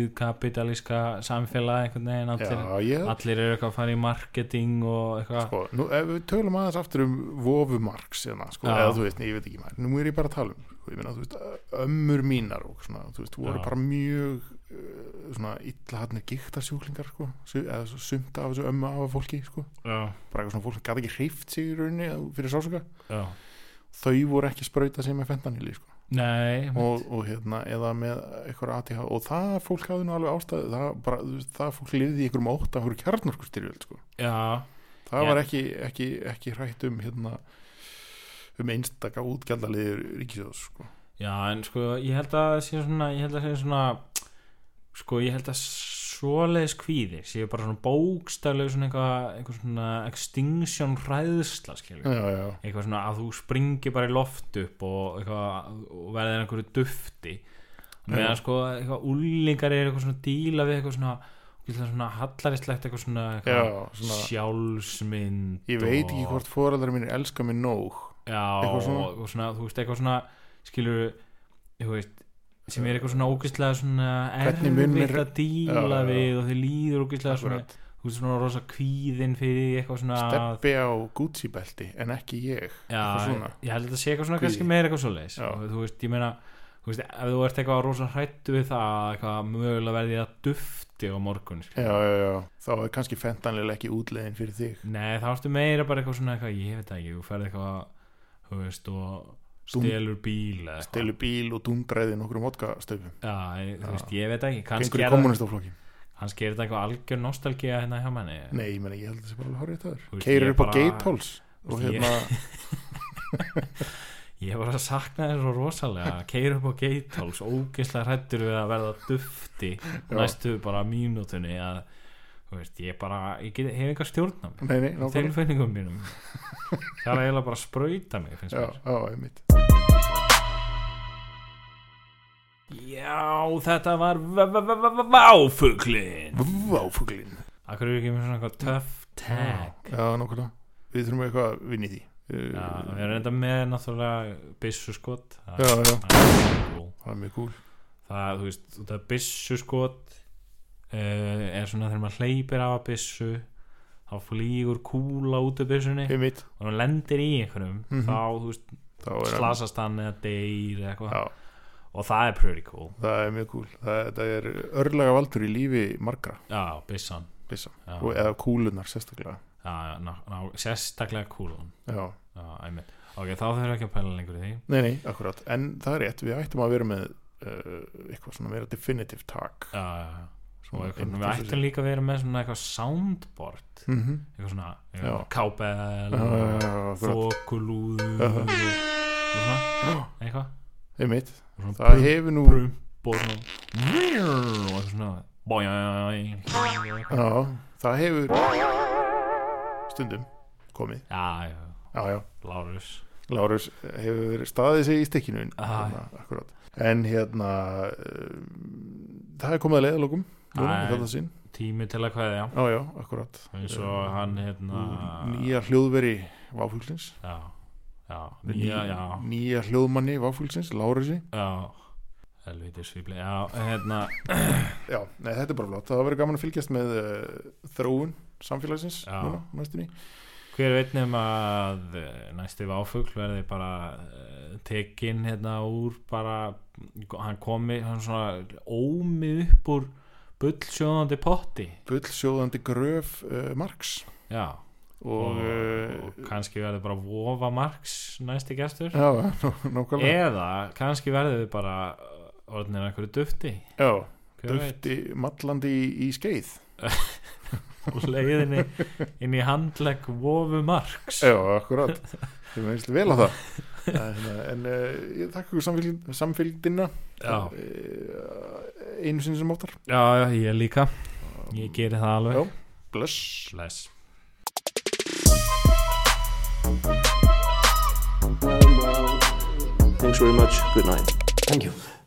síðkapitalíska samfélag einhvern veginn, já, allir, ég held allir eru eitthvað að fara í marketing og eitthvað sko, nú, ef við tölum aðeins aftur um vofumarks hérna, sko, Já. eða þú veist, nei, ég veit ekki maður nú er ég bara að tala um, sko, ég meina, þú veist ömmur mínar og svona, þú veist, voru Já. bara mjög uh, svona illa hann er giktarsjúklingar, sko, su- eða svo sumt af þessu ömmu af fólki, sko Já, bara eitthvað svona fólk sem gæti ekki hreift sig í rauninni eða fyrir sásuka, já þau voru ekki að sprauta sig með fentanili, sko, Nei, og, og hérna, eða með eitthvað ATH, og það fólk hafði nú alveg ástæði, það bara, þú veist, það fólk lifði í einhverjum ótt af hverju kjarnorkustyrjöld, sko já, það Já. var ekki, ekki, ekki hrætt um hérna um einstaka útgjaldaliður ríkisjóðs sko. já, en sko ég held að það sé svona, ég held að það sé svona sko ég held að svoleiðis kvíði, séu bara svona bókstaflega svona eitthvað, eitthvað svona extinction hræðsla, skilur já, já, eitthvað svona að þú springir bara í loft upp og, eitthvað, og verðir einhverju dufti Mm. meðan sko eitthvað úlingar er eitthvað svona að díla við eitthvað svona, eitthvað svona hallaristlegt eitthvað svona, já eitthvað svona, sjálfsmynd ég veit ekki og- hvort foreldrar mínir elska mig nóg já, eitthvað svona. og, og svona, þú veist, eitthvað svona skilur, þú veist sem er eitthvað svona ógæslega svona Hvernig mun mér- erfitt að díla Já, já, já. við og þið líður ógæslega svona Akkurat. þú veist svona rosa kvíðin fyrir því, eitthvað svona steppi á Gucci belti en ekki ég eitthvað Já, svona ég held að það sé eitthvað svona Kvíði. kannski meira eitthvað svoleiðis Já. og þú veist, ég meina þú veist, ef þú ert eitthvað rosa hrættu við það að eitthvað mögulega verði það dufti á morgun skilur. já, já, já. þá er kannski fentanlega ekki útlegin fyrir þig Nei, þá ertu meira bara eitthvað svona eitthvað, ég veit það ekki, þú ferð eitthvað þú veist, og Dún- stelur bíl eða eitthvað. stelu bíl og dundræði nokkrum vodkastöfum Já, ég- þú Já. veist, ég veit það ekki gengur kannski í er, það- kommunistaflokki kannski er þetta eitthvað algjör nostalgía hérna hjá manni nei, ég, meni, ég held að það sé bara alveg horrið það Þú veist, keirir ég upp á bara- geithols og Ég- hérna *laughs* Ég var að sakna þér svo rosalega að keira upp á geitháls ógeðslega hrættur við að verða dufti næstu bara mínútunni að þú veist, ég bara ég get, hef enga stjórn á mér nei, nei, nákvæmlega. tilfinningum *laughs* mínum það er eiginlega bara að sprauta mig finnst já, mér já, einmitt Já, þetta var v- v- v- v- váfuglin váfuglin Akkur eru ekki með svona eitthvað töff tag já, nákvæmlega, við þurfum eitthvað að vinna í því Uh, Já, við erum enda með náttúrulega byssuskot Það- já, já, það er cool. það er mjög cool það, þú veist, út af byssu skot uh, er svona þegar maður hleypir af að byssu þá flýgur kúla út af byssunni einmitt, og hann lendir í einhverjum Mhm. þá, þú veist, þá er hann- slasast hann eða deyr eða eitthvað já, og það er pretty cool það er mjög cool það, það er örlaga valdur í lífi margra já, byssan byssan, já, og eða kúlunar sérstaklega já, já, ná, ná, sérstaklega kúlan já, já, einmitt ok, þá þurfum við ekki að pæla lengur í því nei, nei, akkurat en það er rétt, við ættum að vera með uh, eitthvað svona meira definitive tag já, já, já Og Svona eitthvað, einmitt við eins og ættum líka að vera með svona eitthvað soundboard Mhm. eitthvað svona, Já. kábel Já, já, já, akkurat. þokulúður Já. og svona Já, eitthvað einmitt, Og svona það prum, hefur nú prum, og svona og eitthvað svona boing. já, það hefur stundum komið, já, já, já, já Lárus Lárus hefur staðið sig í stikkinu Ah. hérna, akkurat. en hérna uh, það er komið að leiðalokum Ah, þetta sín, tími til að kveðja já já, akkurat eins og hann hérna nýja hljóðveri Váfúlsins já, já, nýja, já, nýja hljóðmanni Váfúlsins, Lárusi já helviti svibli, já, hérna já, nei, þetta er bara flott, það verður gaman að fylgjast með uh, þróun samfélagsins Já. núna, næstunni hver veit nefn að eh, næsti váfugl verði bara eh, tekinn hérna úr bara, hann komi hann svona ómið upp úr bullsjóðandi potti bullsjóðandi gröf uh, Marx já, og, og, eh, uh, og kannski verður bara vofa Marx næsti gestur já, *laughs* nó- nákvæmlega eða kannski verður við bara uh, orðnir einhverju dufti já, hver veit, döfti mallandi í, í skeið og leiðinni inn í handlegg vofu Marx já, akkurat, þið meðist vel á *laughs* það en, en uh, ég þakka ykkur samfylg, samfylgdina já, Eh, einu sinni sem óttar já, já, ég líka ég geri það alveg Já. bless bless Thanks very much. Good night. Thank you.